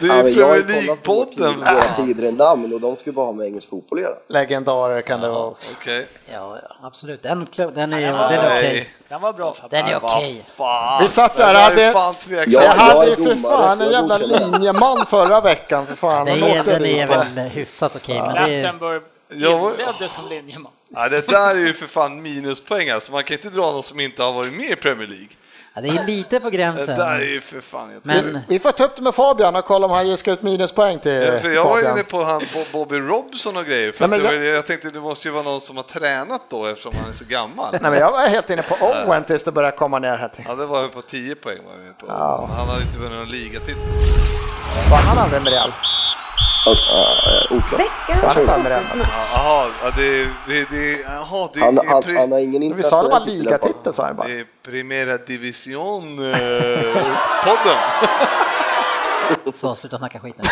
[SPEAKER 3] det
[SPEAKER 6] Ja,
[SPEAKER 3] är
[SPEAKER 6] men jag har ju
[SPEAKER 3] Premier
[SPEAKER 6] kollat på
[SPEAKER 3] League-podden.
[SPEAKER 6] våra tidigare namn och de skulle bara ha med engelsk fotboll att göra.
[SPEAKER 5] Legendarer kan det vara.
[SPEAKER 3] Okej.
[SPEAKER 2] ja, ja, absolut. Den, den är, den
[SPEAKER 4] Nej.
[SPEAKER 2] är okej.
[SPEAKER 4] Den var bra Fabbe.
[SPEAKER 2] Den är
[SPEAKER 3] Vad
[SPEAKER 2] okej.
[SPEAKER 3] fan.
[SPEAKER 5] Vi satt där,
[SPEAKER 3] Det där
[SPEAKER 5] hade-
[SPEAKER 3] är fan
[SPEAKER 5] Det
[SPEAKER 6] Ja,
[SPEAKER 3] tveksamt.
[SPEAKER 5] här
[SPEAKER 6] jag är
[SPEAKER 5] är alltså, för
[SPEAKER 6] domare,
[SPEAKER 5] fan
[SPEAKER 6] så
[SPEAKER 5] en
[SPEAKER 6] jag
[SPEAKER 5] jävla
[SPEAKER 6] godkänner det.
[SPEAKER 5] linjeman förra veckan. För fan,
[SPEAKER 2] Den
[SPEAKER 5] han
[SPEAKER 2] är,
[SPEAKER 5] åkte
[SPEAKER 2] den är
[SPEAKER 5] dit.
[SPEAKER 2] väl hyfsat okej, men det är,
[SPEAKER 4] Rattenburg
[SPEAKER 3] Jag var-
[SPEAKER 4] inledde som linjeman.
[SPEAKER 3] Ja, det där är ju för fan minuspoäng alltså. Man kan inte dra någon som inte har varit med i Premier League.
[SPEAKER 2] ja, det är lite på
[SPEAKER 3] Det
[SPEAKER 2] gränsen.
[SPEAKER 3] där är ju för fan helt
[SPEAKER 2] Men
[SPEAKER 5] Vi får ta upp det med Fabian och kolla om han ska ut minuspoäng till
[SPEAKER 3] Ja, för jag var ju
[SPEAKER 5] Fabian.
[SPEAKER 3] inne på han Bo- Bobby Robson och grejer. För
[SPEAKER 5] Nej, men
[SPEAKER 3] att det var,
[SPEAKER 5] jag-
[SPEAKER 3] ju- jag tänkte det måste ju vara någon som har tränat då eftersom han är så gammal.
[SPEAKER 5] Nej, men jag var helt inne på Owen tills det började komma ner här. Till.
[SPEAKER 3] Ja, det var ju på 10 poäng var jag inne på.
[SPEAKER 5] Ja.
[SPEAKER 3] Men Han hade inte vunnit någon ligatitel.
[SPEAKER 5] Var han aldrig med Real?
[SPEAKER 6] Uh, oklart.
[SPEAKER 5] Varför
[SPEAKER 7] Veckans
[SPEAKER 5] är det
[SPEAKER 7] fokusmatch.
[SPEAKER 3] Jaha, ja, det, det, det, jaha, det
[SPEAKER 6] Han,
[SPEAKER 3] är
[SPEAKER 6] han,
[SPEAKER 3] pri-
[SPEAKER 6] han har ingen
[SPEAKER 5] Vi sa det var
[SPEAKER 6] internationell titel i
[SPEAKER 5] ligatitel
[SPEAKER 6] alla fall.
[SPEAKER 5] sa han bara.
[SPEAKER 3] Det är Primera eh, Division-podden.
[SPEAKER 2] så, sluta snacka skit nu.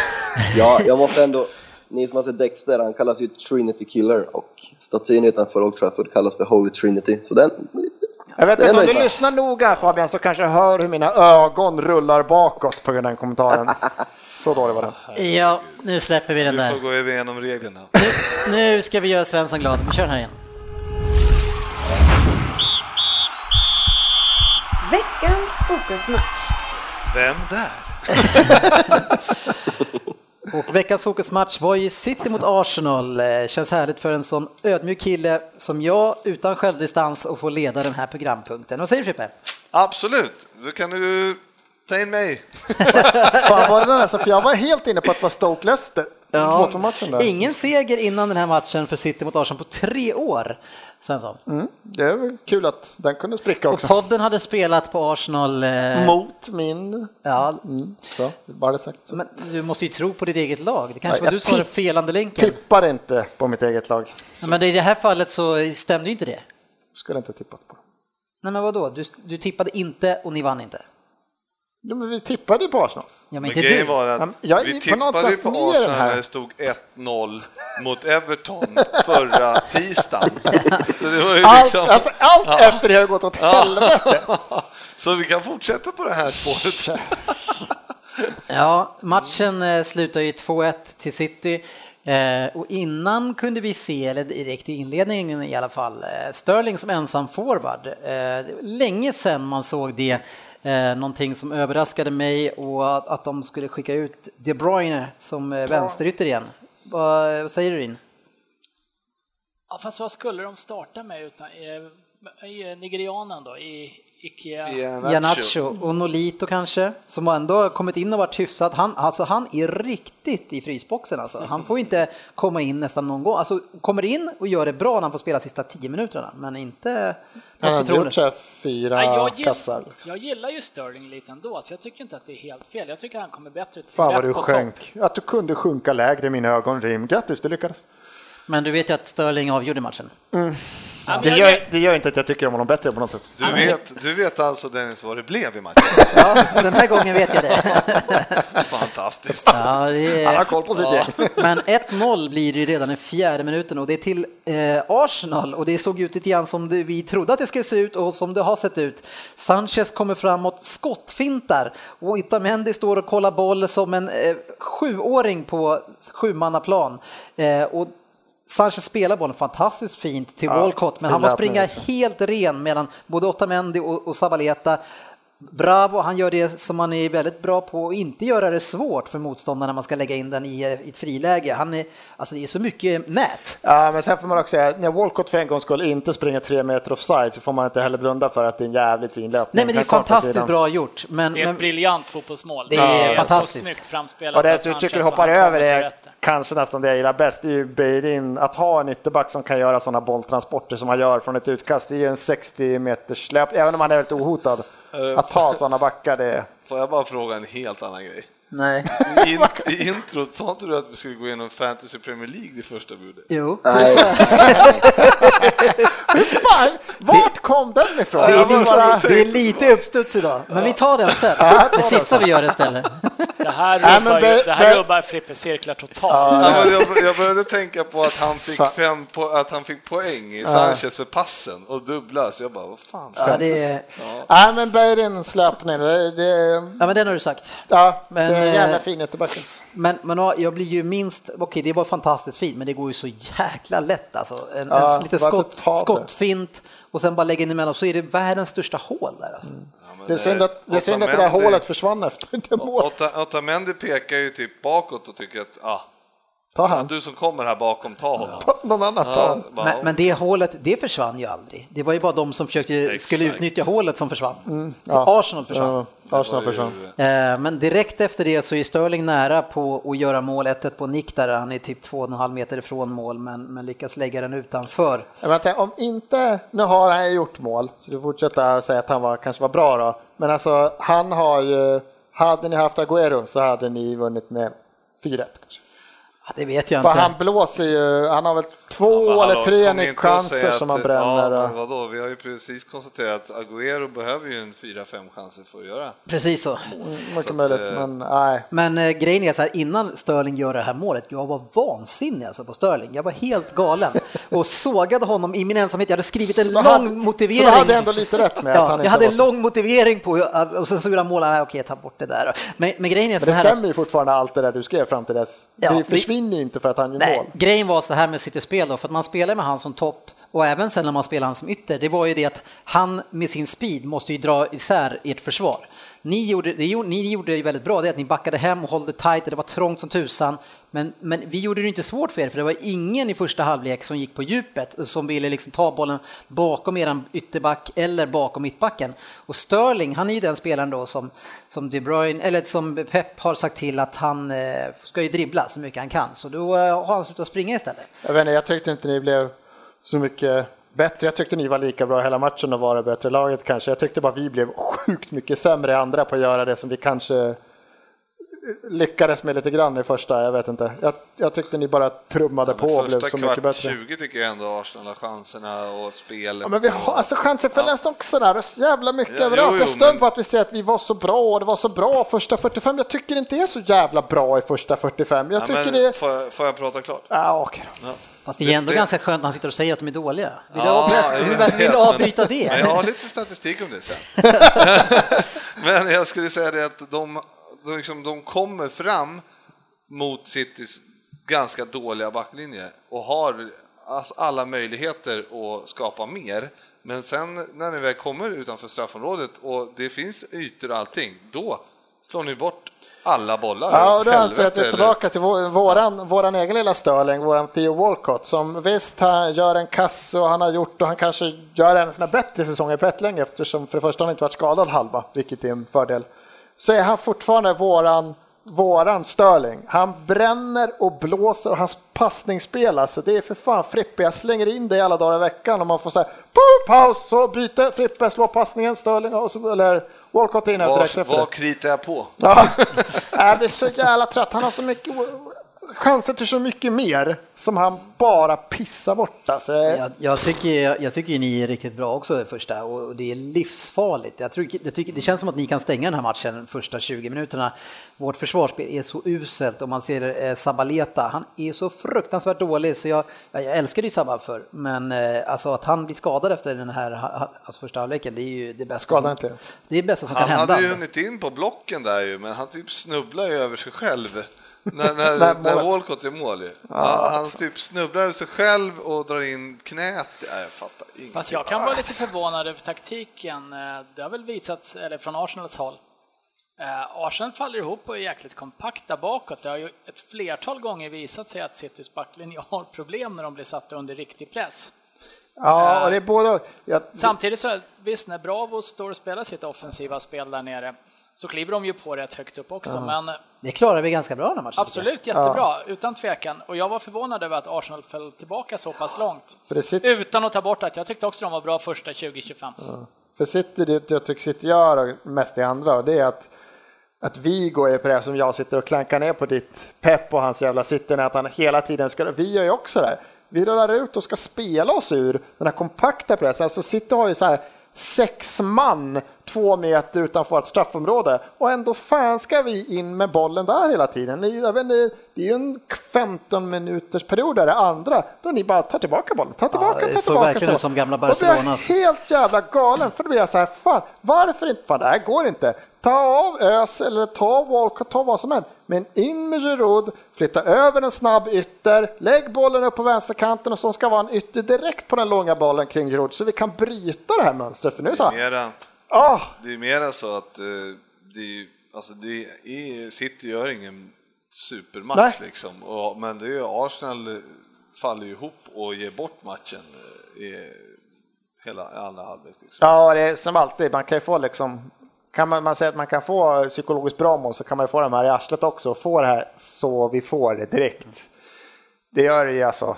[SPEAKER 6] Ja, jag måste ändå... Ni som har sett Dexter, han kallas ju Trinity Killer och statyn utanför Old Trafford kallas för Holy Trinity. Så den...
[SPEAKER 5] Jag vet
[SPEAKER 6] Den
[SPEAKER 5] inte, om
[SPEAKER 6] är
[SPEAKER 5] du
[SPEAKER 6] nöjd.
[SPEAKER 5] lyssnar noga Fabian så kanske jag hör hur mina ögon rullar bakåt på grund av den kommentaren. Så dålig var den.
[SPEAKER 2] Ja, nu släpper vi den
[SPEAKER 3] Vi får
[SPEAKER 2] där.
[SPEAKER 3] gå igenom reglerna.
[SPEAKER 2] Nu ska vi göra Svensson glad. Vi kör den här igen.
[SPEAKER 7] Veckans fokusmatch.
[SPEAKER 3] Vem där?
[SPEAKER 2] Och veckans fokusmatch var ju City mot Arsenal. Eh, Känns härligt för en sån ödmjuk kille som jag utan självdistans att få leda den här programpunkten. Vad säger du Frippe?
[SPEAKER 3] Absolut, då kan du ta in mig.
[SPEAKER 5] Fan var det den alltså, för jag var helt inne på att det var Stoke Leicester. Ja. matchen där.
[SPEAKER 2] Ingen seger innan den här matchen för City mot Arsenal på tre år. Svensson.
[SPEAKER 5] Mm, det är väl kul att den kunde spricka
[SPEAKER 2] Och
[SPEAKER 5] också.
[SPEAKER 2] podden hade spelat på Arsenal. eh,
[SPEAKER 5] Mot min...
[SPEAKER 2] Ja,
[SPEAKER 5] Så, bara det sagt. Så.
[SPEAKER 2] men du måste ju tro på ditt eget lag. Det
[SPEAKER 5] Ja,
[SPEAKER 2] kanske var
[SPEAKER 5] jag
[SPEAKER 2] du som var den
[SPEAKER 5] tipp-
[SPEAKER 2] felande länken.
[SPEAKER 5] Tippar inte på mitt eget lag.
[SPEAKER 2] Men i det här fallet så stämde ju inte det.
[SPEAKER 5] Skulle inte tippat på.
[SPEAKER 2] Nej men vadå, du, du tippade inte och ni vann inte.
[SPEAKER 5] Ja, men vi tippade ju på Arsenal.
[SPEAKER 2] Ja, men
[SPEAKER 3] Men
[SPEAKER 2] inte
[SPEAKER 3] grejen
[SPEAKER 2] du.
[SPEAKER 3] var
[SPEAKER 5] Ja,
[SPEAKER 3] att
[SPEAKER 5] men jag är
[SPEAKER 3] vi
[SPEAKER 5] på något
[SPEAKER 3] tippade ju
[SPEAKER 5] sätt
[SPEAKER 3] på
[SPEAKER 5] med i den
[SPEAKER 3] Arsenal
[SPEAKER 5] här.
[SPEAKER 3] när det stod 1-0 mot Everton förra tisdagen. Så det var ju
[SPEAKER 5] Allt,
[SPEAKER 3] liksom...
[SPEAKER 5] alltså, allt efter det har gått åt helvete.
[SPEAKER 3] Så vi kan fortsätta på det här spåret.
[SPEAKER 2] Ja, matchen eh, slutar ju 2-1 till City. Eh, och innan kunde vi se, eller direkt i inledningen i alla fall, eh, Sterling som ensam forward. Eh, det var länge sedan man såg det. Eh, någonting som överraskade mig och att, att de skulle skicka ut De Bruyne som eh, vänsterytter igen. Vad, vad säger du in?
[SPEAKER 4] Ja, fast vad skulle de starta med utan eh, i nigerianen då? I Ikea?
[SPEAKER 2] Janacho och Nolito kanske, som ändå har kommit in och varit hyfsat. Han, alltså han är riktigt i frysboxen alltså. Han får inte komma in nästan någon gång. Alltså kommer in och gör det bra när han får spela sista tio minuterna, men inte
[SPEAKER 5] Han
[SPEAKER 2] något
[SPEAKER 5] har gjort så
[SPEAKER 2] förtroende.
[SPEAKER 5] här fyra
[SPEAKER 4] Nej, jag,
[SPEAKER 5] kassar.
[SPEAKER 4] gill, jag gillar ju Sterling lite ändå, så jag tycker inte att det är helt fel. Jag tycker han kommer bättre till sin
[SPEAKER 5] Fan vad
[SPEAKER 4] rätt
[SPEAKER 5] du
[SPEAKER 4] på topp.
[SPEAKER 5] sjönk. Att du kunde sjunka lägre i mina ögon, Rim. Grattis, du lyckades.
[SPEAKER 2] Men du vet ju att Sterling avgjorde matchen.
[SPEAKER 4] Ja, men
[SPEAKER 5] Det
[SPEAKER 4] jag
[SPEAKER 5] gör,
[SPEAKER 4] gillar-
[SPEAKER 5] det gör inte att jag tycker om honom bättre på något sätt.
[SPEAKER 3] Du vet, du vet alltså Dennis vad det blev i matchen?
[SPEAKER 2] Ja, den här gången vet jag det.
[SPEAKER 3] Fantastiskt.
[SPEAKER 2] Ja, det är...
[SPEAKER 5] Han har koll på sitt gäng.
[SPEAKER 2] Men 1-0 blir det ju redan i fjärde minuten och det är till eh, Arsenal och det såg ut lite grann som det, vi trodde att det skulle se ut och som det har sett ut. Sanchez kommer framåt, skottfintar och Itamendi står och kollar boll som en eh, sjuåring på sjumannaplan. Eh, och Sanchez spelar bollen fantastiskt fint till liksom.
[SPEAKER 5] Ja,
[SPEAKER 2] Walcott men han får
[SPEAKER 5] fina
[SPEAKER 2] springa
[SPEAKER 5] minuter.
[SPEAKER 2] helt ren mellan både Otamendi och, och Sabaleta. Bravo, han gör det som han är väldigt bra på och inte göra det svårt för motståndarna när man ska lägga in den i, eh, i ett friläge. Han är, alltså det är så mycket nät.
[SPEAKER 5] Ja, men sen får man också säga, när Walcott för en gångs skull inte springer tre meter offside så får man inte heller blunda för att det är en jävligt fin löpning.
[SPEAKER 2] Nej men det är
[SPEAKER 5] Här korta
[SPEAKER 2] fantastiskt
[SPEAKER 5] sidan.
[SPEAKER 2] bra gjort. Men,
[SPEAKER 4] Det är ett
[SPEAKER 2] men,
[SPEAKER 4] briljant fotbollsmål.
[SPEAKER 2] Det är
[SPEAKER 4] så
[SPEAKER 2] fantastiskt.
[SPEAKER 4] snyggt framspelat.
[SPEAKER 5] Och det
[SPEAKER 4] av
[SPEAKER 5] att du
[SPEAKER 4] Sanchez
[SPEAKER 5] tycker
[SPEAKER 4] och
[SPEAKER 5] hoppar
[SPEAKER 4] han kommer
[SPEAKER 5] över
[SPEAKER 4] sig
[SPEAKER 5] är
[SPEAKER 4] rätt där.
[SPEAKER 5] kanske nästan det jag gillar bäst. Det är ju Beirin. Att ha en ytterback som kan göra sådana bolltransporter som han gör från ett utkast. Det är ju en 60 meters löp, även om han är väldigt ohotad. Att ta sådana backar, det är...
[SPEAKER 3] Får jag bara fråga en helt annan grej?
[SPEAKER 2] Nej.
[SPEAKER 3] I, in, i introt sa inte du att vi skulle gå igenom Fantasy Premier League, det första budet?
[SPEAKER 2] Jo.
[SPEAKER 6] Nej,
[SPEAKER 5] Fan, vart kom den ifrån?
[SPEAKER 3] Ja, jag
[SPEAKER 5] Det är
[SPEAKER 3] måste-
[SPEAKER 5] bara-
[SPEAKER 2] Det är lite uppstuds idag, men vi tar den sen. Det sista vi gör istället.
[SPEAKER 4] Det här
[SPEAKER 5] Nej, men
[SPEAKER 4] rubbar, ju-
[SPEAKER 5] Ber-
[SPEAKER 4] det här
[SPEAKER 5] Ber-
[SPEAKER 4] rubbar Frippes cirklar totalt.
[SPEAKER 3] Ja, men jag, jag började tänka på att han fick,
[SPEAKER 5] Fan.
[SPEAKER 3] fem po att han fick poäng i Sanchez för passen och dubbla, så jag bara, vad fan?
[SPEAKER 2] Ja, det är,
[SPEAKER 5] Nej, men Beirin slöp ner. Det, det,
[SPEAKER 2] ja, men den har du sagt.
[SPEAKER 5] ja,
[SPEAKER 2] Men,
[SPEAKER 5] det är en jävla
[SPEAKER 2] eh,
[SPEAKER 5] fin ytterbacken.
[SPEAKER 2] Men, men ja, jag blir ju minst, okej det var fantastiskt fint men det går ju så jäkla lätt alltså. En,
[SPEAKER 5] Ja,
[SPEAKER 2] en lite
[SPEAKER 5] varför
[SPEAKER 2] skott,
[SPEAKER 5] ta det?
[SPEAKER 2] skottfint och sen bara lägga in emellan så är det världens största hål där alltså.
[SPEAKER 5] Det är synd att det, är synd att det där hålet försvann efter det målet.
[SPEAKER 3] Otamendi pekar ju typ bakåt och tycker att, ah,
[SPEAKER 5] Ta han.
[SPEAKER 3] du som kommer här bakom, ta honom.
[SPEAKER 5] Ta någon annan. Ta
[SPEAKER 3] Ja,
[SPEAKER 5] han.
[SPEAKER 3] bara,
[SPEAKER 2] Men, men det hålet, det försvann ju aldrig. Det var ju bara de som försökte, skulle
[SPEAKER 3] Exakt.
[SPEAKER 2] utnyttja hålet som försvann.
[SPEAKER 5] Mm, ja.
[SPEAKER 2] Arsenal försvann.
[SPEAKER 5] Ja,
[SPEAKER 3] det var
[SPEAKER 5] Arsenal
[SPEAKER 3] ju-
[SPEAKER 5] försvann.
[SPEAKER 2] Eh, Men direkt efter det så är Sterling nära på att göra mål 1-1 på nick där han är typ 2,5 meter ifrån mål men, men lyckas lägga den utanför.
[SPEAKER 5] Ja, men jag tänker, om inte, nu har han ju gjort mål, så du fortsätter säga att han var, kanske var bra då. Men alltså, han har ju, hade ni haft Agüero så hade ni vunnit med 4-1 kanske.
[SPEAKER 2] Ja, Det vet jag
[SPEAKER 5] För
[SPEAKER 2] inte.
[SPEAKER 5] han blåser ju, han har väl två
[SPEAKER 3] Men hallå,
[SPEAKER 5] eller tre
[SPEAKER 3] kom inte och
[SPEAKER 5] nyckelchanser
[SPEAKER 3] säg
[SPEAKER 5] som
[SPEAKER 3] att-
[SPEAKER 5] han bränner.
[SPEAKER 3] Ja,
[SPEAKER 5] och-
[SPEAKER 3] men vadå, vi har ju precis konstaterat att Agüero behöver ju en 4-5 chanser för att göra.
[SPEAKER 2] Precis så.
[SPEAKER 5] Mycket
[SPEAKER 3] att,
[SPEAKER 5] möjligt,
[SPEAKER 3] eh,
[SPEAKER 5] men nej.
[SPEAKER 2] Men eh, grejen är så här, innan Sterling gör det här målet, jag var vansinnig alltså på Sterling. Jag var helt galen och sågade honom i min ensamhet. Jag hade skrivit en
[SPEAKER 5] Så
[SPEAKER 2] lång
[SPEAKER 5] du hade-
[SPEAKER 2] motivering.
[SPEAKER 5] så du hade ändå lite rätt med att
[SPEAKER 2] ja,
[SPEAKER 5] han inte
[SPEAKER 2] Jag hade
[SPEAKER 5] var
[SPEAKER 2] en
[SPEAKER 5] så-
[SPEAKER 2] lång motivering på hur- att- och sen så gjorde han mål, ah, okej ta bort det där. Men, men grejen är
[SPEAKER 5] Men
[SPEAKER 2] så
[SPEAKER 5] det
[SPEAKER 2] här.
[SPEAKER 5] stämmer ju fortfarande allt det där du skrev fram till dess.
[SPEAKER 2] Ja, vi-
[SPEAKER 5] det försvinner ju inte för att han gör
[SPEAKER 2] Nej,
[SPEAKER 5] mål.
[SPEAKER 2] grejen var så här med City-spel då, för att man spelar med han som topp och även sen när man spelar han som ytter, det var ju det att han med sin speed måste ju dra isär ert försvar. Ni gjorde det, gjorde- ni gjorde ju väldigt bra, det är att ni backade hem och höll det tight, det var trångt som tusan. Men, men vi gjorde det ju inte svårt för er, för det var ingen i första halvlek som gick på djupet och som ville liksom ta bollen bakom eran ytterback eller bakom mittbacken. Och Sterling, han är ju den spelaren då som, som De Bruyne, eller som Pep har sagt till att han eh, ska ju dribbla så mycket han kan, så då eh, har han slutat springa istället.
[SPEAKER 5] Jag, vet inte, jag tyckte inte ni blev så mycket bättre. Jag tyckte ni var lika bra hela matchen och var det bättre laget kanske. Jag tyckte bara vi blev sjukt mycket sämre i andra på att göra det som vi kanske lyckades med lite grann i första. Jag vet inte. Jag, jag tyckte ni bara trummade på och blev
[SPEAKER 3] Första
[SPEAKER 5] så mycket
[SPEAKER 3] kvart
[SPEAKER 5] bättre.
[SPEAKER 3] 20 tycker jag ändå Arsenal har chanserna och spelet.
[SPEAKER 5] Ja, men vi har alltså chanser för nästan också där och så jävla mycket
[SPEAKER 3] Ja,
[SPEAKER 5] överallt.
[SPEAKER 3] jo,
[SPEAKER 5] jag
[SPEAKER 3] jo,
[SPEAKER 5] stör
[SPEAKER 3] men-
[SPEAKER 5] på att vi säger att vi var så bra och det var så bra första 45. Jag tycker inte det är så jävla bra i första 45. Jag
[SPEAKER 3] Ja,
[SPEAKER 5] tycker
[SPEAKER 3] men
[SPEAKER 5] det är...
[SPEAKER 3] får, jag- får jag prata klart?
[SPEAKER 5] Ah, okej. då.
[SPEAKER 2] Fast det är ändå
[SPEAKER 3] Det-
[SPEAKER 2] ganska skönt när han sitter och säger att de är dåliga. Vill
[SPEAKER 3] Ja,
[SPEAKER 2] du
[SPEAKER 3] jag
[SPEAKER 2] avbryta,
[SPEAKER 3] vet,
[SPEAKER 2] vill du
[SPEAKER 3] men-
[SPEAKER 2] avbryta det?
[SPEAKER 3] Men jag har lite statistik om det sen. men jag skulle säga det att de, de, liksom, de kommer fram mot Citys ganska dåliga backlinje och har alltså alla möjligheter att skapa mer. Men sen när ni väl kommer utanför straffområdet och det finns ytor och allting, då slår ni bort alla bollar.
[SPEAKER 5] Ja,
[SPEAKER 3] åt
[SPEAKER 5] och då anser jag att vi är
[SPEAKER 3] helvete, eller?
[SPEAKER 5] tillbaka till vår, våran, våran egen lilla Sterling, våran Theo Walcott, som visst han gör en kass och han har gjort och han kanske gör en av sina bättre säsonger på ett länge eftersom för det första har han inte varit skadad halva, vilket är en fördel. Så är han fortfarande våran, våran Sterling. Han bränner och blåser och hans passningsspel alltså, det är för fan Frippe, jag slänger in det alla dagar i veckan och man får säga paus, så byte, Frippe slår passningen, Sterling och så, eller Walcott in direkt efter
[SPEAKER 3] Vad,
[SPEAKER 5] det.
[SPEAKER 3] vad kritar jag på?
[SPEAKER 5] Ja. Jag blir så jävla trött. Han har så mycket chanser till så mycket mer som han bara pissar bort. Alltså,
[SPEAKER 2] Jag, jag, tycker, jag, jag tycker ju ni är riktigt bra också det första och och det är livsfarligt. Jag tycker, jag tycker, det känns som att ni kan stänga den här matchen första 20 minuterna. Vårt försvarsspel är så uselt om man ser eh, Sabaleta. Han är så fruktansvärt dålig så jag, jag älskade ju Sabba för men eh, alltså att han blir skadad efter den här ha- ha- alltså första halvleken det är ju det bästa.
[SPEAKER 5] Skada
[SPEAKER 2] som,
[SPEAKER 5] inte.
[SPEAKER 2] Det är det bästa som
[SPEAKER 3] Han
[SPEAKER 2] kan hända.
[SPEAKER 3] hade ju
[SPEAKER 2] alltså.
[SPEAKER 3] hunnit in på blocken där ju, men han typ snubblar ju över sig själv. när, när,
[SPEAKER 5] När
[SPEAKER 3] när
[SPEAKER 5] målet-
[SPEAKER 3] Walcott gör mål ju. Ja, han typ snubblar över sig själv och drar in knät. Nej, jag fattar ingenting.
[SPEAKER 4] Fast jag kan vara lite förvånad över taktiken. Eh, Det har väl visats, eller från Arsenals håll. Eh, Arsenal faller ihop och är jäkligt kompakta bakåt. Det har ju ett flertal gånger visat sig att Citys backlinje har problem när de blir satta under riktig press.
[SPEAKER 5] ja, och det är både... Jag,
[SPEAKER 4] Samtidigt så, visst när Bravo står och spelar sitt offensiva spel där nere så kliver de ju på rätt högt upp också, men
[SPEAKER 2] Det klarar vi ganska bra den här matchen. tycker jag.
[SPEAKER 4] Absolut jättebra, utan tvekan. Och jag var förvånad över att Arsenal föll tillbaka så pass långt.
[SPEAKER 5] för det sitter,
[SPEAKER 4] Utan att ta bort att jag tyckte också de var bra första 20-25.
[SPEAKER 5] För City, det jag tycker City gör och mest i andra, och det är att att Vigo är på det som jag sitter och klankar ner på ditt pepp och hans jävla sitten att han hela tiden ska, vi gör ju också det. här. Vi rullar ut och ska spela oss ur den här kompakta pressen. Alltså City har ju så här sex man två meter utanför vårt straffområde och ändå fan ska vi in med bollen där hela tiden. Ni, jag vet, inte, det är ju en 15 minuters period där det andra då ni bara tar tillbaka bollen, tar tillbaka,
[SPEAKER 2] det
[SPEAKER 5] tar
[SPEAKER 2] såg
[SPEAKER 5] tillbaka.
[SPEAKER 2] verkligen
[SPEAKER 5] tar-
[SPEAKER 2] ut som gamla
[SPEAKER 5] Och det är
[SPEAKER 2] Barcelona, alltså.
[SPEAKER 5] helt jävla galen för då blir jag så här, fan varför inte, fan det här går inte. Ta av Ös eller ta av Walcott, ta vad som helst. Men in med Giroud, flytta över en snabb ytter, lägg bollen upp på vänsterkanten och så ska vara en ytter direkt på den långa bollen kring Giroud så vi kan bryta det här mönstret. För nu så här,
[SPEAKER 3] Mera,
[SPEAKER 5] ah,
[SPEAKER 3] det är mera så att eh, det, är ju- alltså det är, City gör ingen supermatch
[SPEAKER 5] Nej.
[SPEAKER 3] liksom. Och, men det är ju Arsenal eh, faller ju ihop och ger bort matchen eh, i hela andra halvlek. Liksom.
[SPEAKER 5] ja det är som alltid, man kan ju få liksom kan man, man säga att man kan få psykologiskt bra mål så kan man ju få de här i arslet också och få det här så vi får det direkt. Det gör det ju alltså.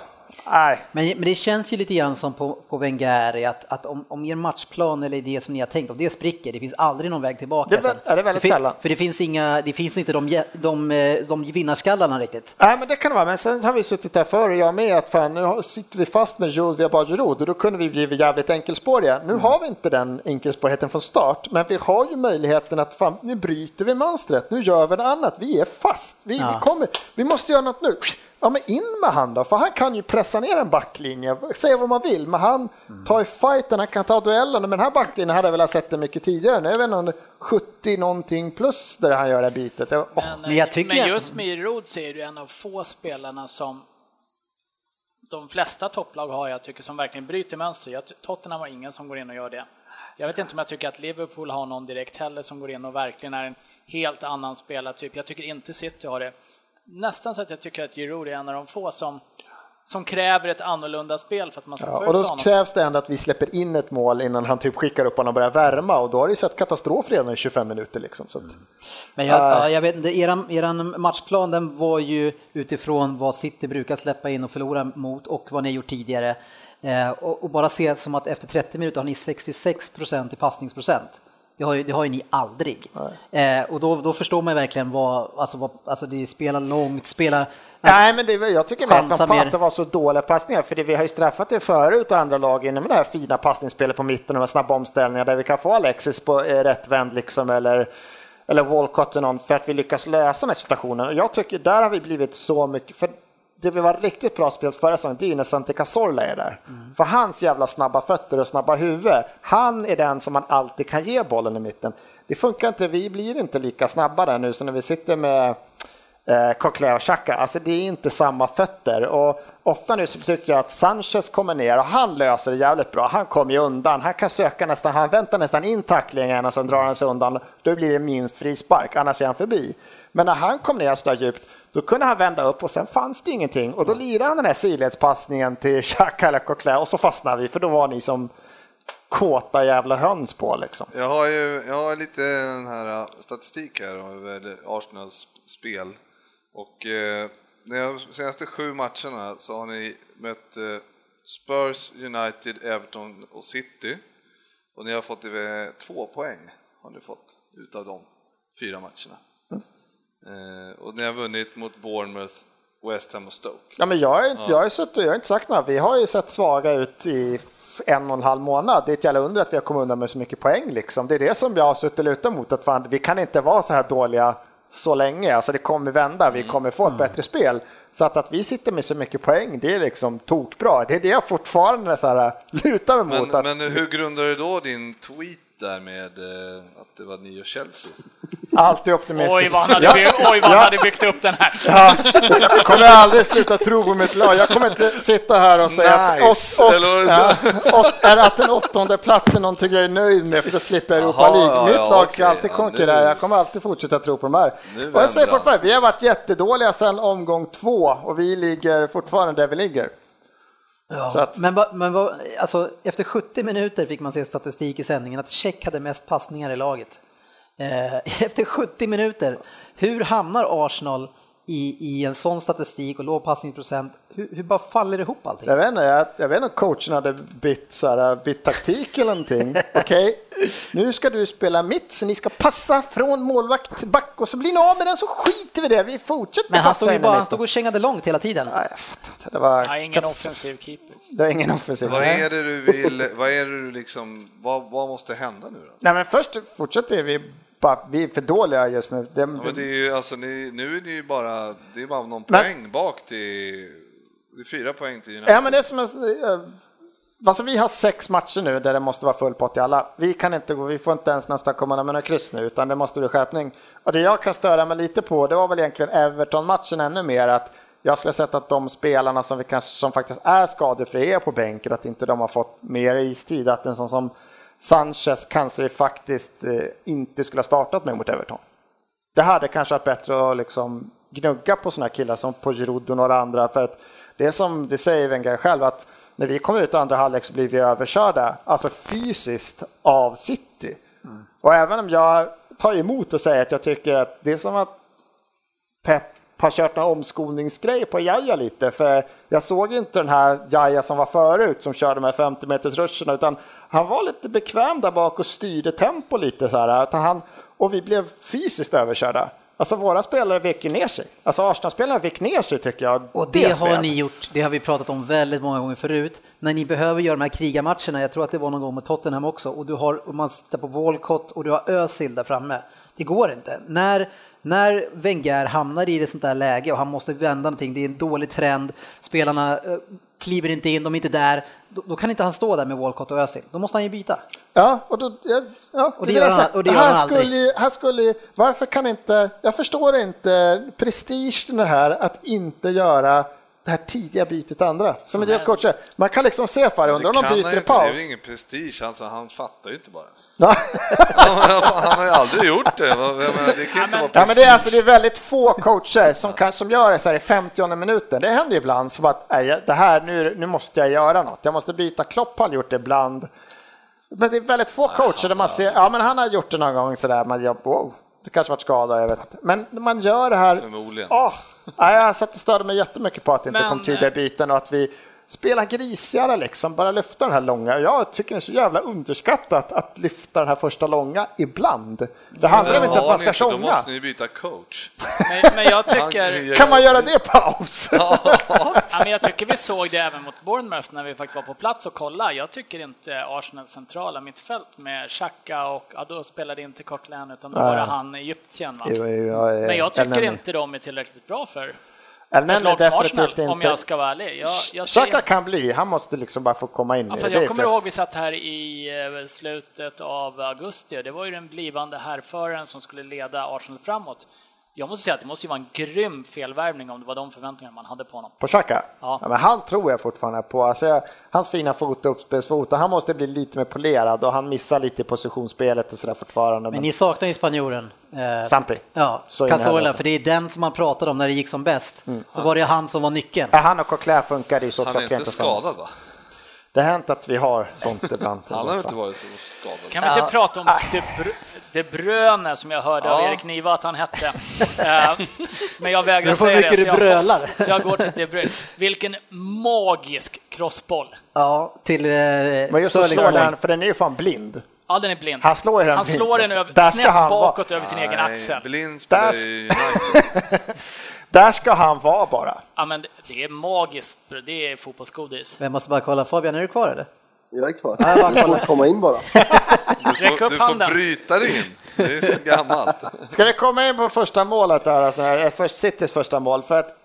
[SPEAKER 5] Nej,
[SPEAKER 2] Men, men det känns ju lite grann som på, på Wenger, att, att om, om er matchplan eller det som ni har tänkt, om det spricker, det finns aldrig någon väg tillbaka
[SPEAKER 5] Det är väl-
[SPEAKER 2] sen.
[SPEAKER 5] är det väldigt
[SPEAKER 2] fin-
[SPEAKER 5] sällan.
[SPEAKER 2] För det finns, inga, det finns inte de, jä- de, eh, de vinnarskallarna riktigt.
[SPEAKER 5] Nej, men det kan det vara. Men sen har vi suttit där förr, jag med, att fan, nu har- sitter vi fast med Giroud, vi har bara Giroud och då kunde vi bli jävligt enkelspåriga. Nu
[SPEAKER 2] Mm.
[SPEAKER 5] har vi inte den enkelspårigheten från start, men vi har ju möjligheten att fan, nu bryter vi mönstret, nu gör vi något annat, vi är fast, vi,
[SPEAKER 2] Ja.
[SPEAKER 5] vi kommer, vi måste göra något nu. Ja, men in med han då, för han kan ju pressa ner en backlinje, säga vad man vill, men han
[SPEAKER 2] Mm.
[SPEAKER 5] tar ju fighten, han kan ta duellen, men den här backlinjen hade jag velat sett det mycket tidigare, nu är väl någon 70 någonting plus där han gör det här bytet. Jag- åh.
[SPEAKER 2] Men jag tycker
[SPEAKER 4] men
[SPEAKER 2] jag-
[SPEAKER 4] just Myrod så är du en av få spelarna som de flesta topplag har jag tycker som verkligen bryter mönster. Jag, ty- Tottenham har ingen som går in och gör det. Jag vet inte om jag tycker att Liverpool har någon direkt heller som går in och verkligen är en helt annan spelartyp. Jag tycker inte City har det. Nästan så att jag tycker att Giroud är en av de få som, som kräver ett annorlunda spel för att man ska
[SPEAKER 5] Ja,
[SPEAKER 4] få
[SPEAKER 5] och
[SPEAKER 4] ut
[SPEAKER 5] då
[SPEAKER 4] honom.
[SPEAKER 5] krävs det ändå att vi släpper in ett mål innan han typ skickar upp honom och börjar värma och då har det ju sett katastrof redan i 25 minuter liksom. Så att,
[SPEAKER 2] Men jag,
[SPEAKER 5] Nej.
[SPEAKER 2] ja, jag vet inte, eran, eran matchplan den var ju utifrån vad City brukar släppa in och förlora mot och vad ni har gjort tidigare. Eh, och, och bara se som att efter 30 minuter har ni 66% i passningsprocent. Det har, ju, det har ju ni aldrig. Eh, och då, då förstår man ju verkligen vad, alltså, vad, alltså det är spela långt, spela...
[SPEAKER 5] Nej, men det, var- jag tycker mer att
[SPEAKER 2] Chansa
[SPEAKER 5] de på
[SPEAKER 2] mer.
[SPEAKER 5] att det var så dåliga passningar för det, vi har ju straffat det förut och andra lag inom det här fina passningsspelet på mitten och de här snabba omställningarna där vi kan få Alexis på eh, rätt vänd liksom eller eller Walcott till någon för att vi lyckas lösa den här situationen. Och jag tycker där har vi blivit så mycket, för det vi var riktigt bra spelat förra säsongen, det är ju när Santi Cazorla är där.
[SPEAKER 2] Mm.
[SPEAKER 5] För hans jävla snabba fötter och snabba huvud, han är den som man alltid kan ge bollen i mitten. Det funkar inte, vi blir inte lika snabba där nu så när vi sitter med eh, Coquelin och Xhaka. Alltså det är inte samma fötter. Och ofta nu så tycker jag att Sanchez kommer ner och han löser det jävligt bra. Han kommer ju undan. Han kan söka nästan, han väntar nästan in tacklingen och sen drar han sig undan. Då blir det minst frispark, annars är han förbi. Men när han kom ner så där djupt, då kunde han vända upp och sen fanns det ingenting. Och då lirade han den här sidledspassningen till Xhaka eller Coquelin och så fastnade vi för då var ni som kåta jävla höns på liksom.
[SPEAKER 3] Jag har ju jag har lite den här eh, statistik här över Arsenals spel. Och eh, de senaste sju matcherna så har ni mött eh, Spurs, United, Everton och City. Och ni har fått eh, två poäng har ni fått utav de fyra matcherna. Eh, och ni har vunnit mot Bournemouth, West Ham och Stoke.
[SPEAKER 5] Ja, men jag har inte, jag har ju suttit- jag har inte sagt något. Vi har ju sett svaga ut i en och en halv månad. Det är ett jävla under att vi har kommit undan med så mycket poäng. Liksom. Det är det som jag har suttit och lutat mot. Att fan, vi kan inte vara så här dåliga så länge. Alltså, det kommer vända.
[SPEAKER 3] Mm.
[SPEAKER 5] Vi kommer få ett bättre spel. Så att, att vi sitter med så mycket poäng, det är liksom tokbra. Det är det jag fortfarande så här, lutar mig
[SPEAKER 3] Men,
[SPEAKER 5] mot. Att,
[SPEAKER 3] men hur grundar du då din tweet där med eh, att det var ni och Chelsea?
[SPEAKER 5] Alltid optimistisk.
[SPEAKER 4] Oj, vad han hade,
[SPEAKER 5] Ja.
[SPEAKER 4] byggt, oj, vad han
[SPEAKER 5] Ja.
[SPEAKER 4] hade byggt upp den här.
[SPEAKER 5] Ja, jag kommer aldrig sluta tro på mitt lag. Jag kommer inte sitta här och säga
[SPEAKER 3] Nice,
[SPEAKER 5] att,
[SPEAKER 3] eller vad det
[SPEAKER 5] ja,
[SPEAKER 3] sa.
[SPEAKER 5] och, är att en åttonde plats är någonting jag är nöjd med för då slipper jag Europa
[SPEAKER 3] Jaha,
[SPEAKER 5] League.
[SPEAKER 3] ja,
[SPEAKER 5] mitt
[SPEAKER 3] ja,
[SPEAKER 5] lag ska
[SPEAKER 3] okej.
[SPEAKER 5] alltid
[SPEAKER 3] Ja,
[SPEAKER 5] konkurrera.
[SPEAKER 3] nu-
[SPEAKER 5] Jag kommer alltid fortsätta tro på de här.
[SPEAKER 3] Nu
[SPEAKER 5] Och jag
[SPEAKER 3] vänder
[SPEAKER 5] säger
[SPEAKER 3] han.
[SPEAKER 5] fortfarande, vi har varit jättedåliga sedan omgång två och vi ligger fortfarande där vi ligger. Så att-
[SPEAKER 2] Men, vad- men vad- alltså, efter 70 minuter fick man se statistik i sändningen att Tjeck hade mest passningar i laget. Eh, efter 70 minuter, hur hamnar Arsenal i, i en sån statistik och låg passningsprocent? Hur, hur bara faller ihop allting?
[SPEAKER 5] Jag vet inte, jag, jag vet inte om coachen hade bytt, så här, bytt taktik eller någonting. Okej, nu ska du spela mitt, så ni ska passa från målvakt till back och så blir ni av med den så skiter vi i det. Vi fortsätter
[SPEAKER 2] Men han
[SPEAKER 5] passa
[SPEAKER 2] stod ju
[SPEAKER 5] in
[SPEAKER 2] bara,
[SPEAKER 5] den
[SPEAKER 2] han stod
[SPEAKER 5] lite.
[SPEAKER 2] och kängade långt hela tiden.
[SPEAKER 5] Nej, jag fattar inte. Det var,
[SPEAKER 4] Nej, ingen offensiv keeper.
[SPEAKER 5] det var ingen offensiv.
[SPEAKER 3] Vad är det du vill, vad är det du liksom, vad, vad måste hända nu då?
[SPEAKER 5] Nej, men först fortsätter vi bara, vi är för dåliga just nu. Det,
[SPEAKER 3] Ja, men det är ju, alltså, ni, nu är det ju bara, det är bara någon
[SPEAKER 5] Men-
[SPEAKER 3] poäng bak till, det är fyra poäng till United.
[SPEAKER 5] Ja, men det är som en, eh, alltså, vi har sex matcher nu där det måste vara full pott i alla. Vi kan inte gå, vi får inte ens nästan komma med några kryss nu, utan det måste bli skärpning. Och det jag kan störa mig lite på, det var väl egentligen Everton-matchen ännu mer, att jag skulle ha sett att de spelarna som, vi kanske, som faktiskt är skadefria på bänken, att inte de har fått mer istid, att en sån som Sanchez kanske faktiskt eh, inte skulle ha startat med mot Everton. Det hade kanske varit bättre att liksom gnugga på sådana killar som Pojerud och några andra. För att det är som det säger Wenger själv att när vi kommer ut i andra halvlek så blir vi överkörda, alltså fysiskt, av City. Och även om jag tar emot och säger att jag tycker att det är som att Pep har kört några omskolningsgrejer på Jaja lite. För jag såg inte den här Jaja som var förut som körde de här 50 meters ruscherna utan han var lite bekväm där bak och styrde tempo lite så här. Att han, och vi blev fysiskt överkörda. Alltså våra spelare vek ju ner sig. Alltså Arsenal-spelarna vek ner sig tycker jag.
[SPEAKER 2] Och det har
[SPEAKER 5] sved.
[SPEAKER 2] ni gjort, det har vi pratat om väldigt många gånger förut, när ni behöver göra de här krigarmatcherna, jag tror att det var någon gång mot Tottenham också, och du har, och man sitter på Walcott och du har Özil där framme. Det går inte. När, när Wenger hamnar i det sånt där läge och han måste vända någonting, det är en dålig trend, spelarna eh, kliver inte in, de är inte där, då, då kan inte han stå där med Walcott och Özil, då måste han ju byta.
[SPEAKER 5] Ja, och, då, ja, ja,
[SPEAKER 2] Och det
[SPEAKER 5] vill
[SPEAKER 2] gör
[SPEAKER 5] jag
[SPEAKER 2] han-
[SPEAKER 5] säga.
[SPEAKER 2] och det gör
[SPEAKER 5] här
[SPEAKER 2] han aldrig.
[SPEAKER 5] skulle, ju- här skulle, ju- Varför kan inte, jag förstår inte prestigen i det här att inte göra det här tidiga bytet till andra. Som en del coacher, man kan liksom se för undrar om
[SPEAKER 3] kan
[SPEAKER 5] de
[SPEAKER 3] han
[SPEAKER 5] byter
[SPEAKER 3] ju
[SPEAKER 5] i
[SPEAKER 3] inte, det är
[SPEAKER 5] paus.
[SPEAKER 3] ju ingen prestige, alltså, han fattar ju inte bara.
[SPEAKER 5] Ja,
[SPEAKER 3] Ja, men fan, han har ju aldrig gjort det, Vad- jag menar, det kan ju inte vara
[SPEAKER 5] Ja, men det, är alltså, det
[SPEAKER 3] prestige.
[SPEAKER 5] är väldigt få coacher som, kan, som gör det så här i 50 minuten. Det händer ju ibland som att nej, det här, nu, nu måste jag göra något. Jag måste byta. Klopp har gjort det ibland. Men det är väldigt få coacher där man ser, ja men han har gjort det någon gång sådär, man gör, wow, det kanske varit skada, jag vet inte. Men när man gör det här,
[SPEAKER 3] Förmodligen.
[SPEAKER 5] Åh, nej, jag satt och störde mig jättemycket på att det inte
[SPEAKER 4] Men,
[SPEAKER 5] kom tidigare byten och att vi spelar grisigare liksom, bara lyfta den här långa. Jag tycker det är så jävla underskattat att lyfta den här första långa ibland. Det handlar
[SPEAKER 3] Men
[SPEAKER 5] inte om att
[SPEAKER 3] har
[SPEAKER 5] man
[SPEAKER 3] ni inte,
[SPEAKER 5] ska
[SPEAKER 3] Då
[SPEAKER 5] tjonga.
[SPEAKER 3] måste ni byta coach.
[SPEAKER 4] Men, men jag
[SPEAKER 3] Han
[SPEAKER 4] tycker...
[SPEAKER 3] ju-
[SPEAKER 5] Kan man göra det i paus?
[SPEAKER 4] Ja, men jag tycker vi såg det även mot Bournemouth när vi faktiskt var på plats och kollade. Jag tycker inte Arsenals centrala mittfält med Xhaka och, ja då spelade inte Coquelin utan då var det han i Egyptien va?
[SPEAKER 5] eh,
[SPEAKER 4] Men jag tycker inte de är tillräckligt bra för
[SPEAKER 5] Elneny
[SPEAKER 4] ett lag som Arsenal,
[SPEAKER 5] definitivt
[SPEAKER 4] om
[SPEAKER 5] inte.
[SPEAKER 4] jag ska vara ärlig. Jag, jag, ser,
[SPEAKER 5] Xhaka kan bli, han måste liksom bara få komma in
[SPEAKER 4] ja,
[SPEAKER 5] i det.
[SPEAKER 4] för
[SPEAKER 5] Det
[SPEAKER 4] jag
[SPEAKER 5] är
[SPEAKER 4] kommer
[SPEAKER 5] fel.
[SPEAKER 4] ihåg vi satt här i eh, slutet av augusti och det var ju den blivande härföraren som skulle leda Arsenal framåt. Jag måste säga att det måste ju vara en grym felvärvning om det var de förväntningarna man hade på honom.
[SPEAKER 5] På Xhaka? Ja.
[SPEAKER 4] Ja.
[SPEAKER 5] men han tror jag fortfarande på. Alltså, jag- hans fina fot och uppspelsfot, och han måste bli lite mer polerad och han missar lite i positionsspelet och sådär fortfarande.
[SPEAKER 2] Men
[SPEAKER 5] Men
[SPEAKER 2] ni saknar ju spanjoren. Eh,
[SPEAKER 5] Santi.
[SPEAKER 2] Ja,
[SPEAKER 5] Så in i
[SPEAKER 2] Casola,
[SPEAKER 5] helvete. Mm.
[SPEAKER 2] för det är den som man pratade om när det gick som bäst. Så var det ju han som var nyckeln.
[SPEAKER 5] Ja, han och Coquelin funkar ju så
[SPEAKER 3] Han är
[SPEAKER 5] klockrent
[SPEAKER 3] inte
[SPEAKER 5] tillsammans.
[SPEAKER 3] skadad va?
[SPEAKER 5] Det har hänt att vi har sånt ibland.
[SPEAKER 3] Han har inte varit så skadad.
[SPEAKER 4] Kan vi inte prata om typ De, Bru- De Bruyne som jag hörde av
[SPEAKER 3] Ah. Ja.
[SPEAKER 4] Erik Niva att han hette? Eh, Men jag vägrar
[SPEAKER 2] Nu får
[SPEAKER 4] säga det,
[SPEAKER 2] mycket
[SPEAKER 4] så
[SPEAKER 2] du
[SPEAKER 4] jag,
[SPEAKER 2] brölar.
[SPEAKER 4] så jag går till De Bruyne. Vilken magisk crossboll!
[SPEAKER 2] Ja, till eh,
[SPEAKER 5] Men just att
[SPEAKER 4] liksom
[SPEAKER 2] Sterlings
[SPEAKER 5] slå
[SPEAKER 2] mål.
[SPEAKER 5] den, för den är ju fan blind.
[SPEAKER 4] Ja, den är blind.
[SPEAKER 5] Han slår ju den
[SPEAKER 4] Han slår
[SPEAKER 5] blind.
[SPEAKER 4] den över,
[SPEAKER 5] Där ska
[SPEAKER 4] snett
[SPEAKER 5] han vara.
[SPEAKER 4] bakåt över sin egen axel.
[SPEAKER 3] Blind spelar ju United.
[SPEAKER 5] Där ska han vara bara.
[SPEAKER 4] Ja, men det- det är magiskt, för det är fotbollsgodis.
[SPEAKER 2] Jag måste bara kolla, Fabian är du kvar eller?
[SPEAKER 6] Jag är kvar.
[SPEAKER 2] Ja, bara
[SPEAKER 6] Du får
[SPEAKER 2] kolla.
[SPEAKER 6] komma in bara.
[SPEAKER 3] Du
[SPEAKER 4] Räck
[SPEAKER 3] får,
[SPEAKER 4] upp
[SPEAKER 3] du får
[SPEAKER 4] handen.
[SPEAKER 3] bryta dig in. Det är så gammalt.
[SPEAKER 5] Ska vi komma in på första målet där, alltså, här, eh, för Citys första mål? För att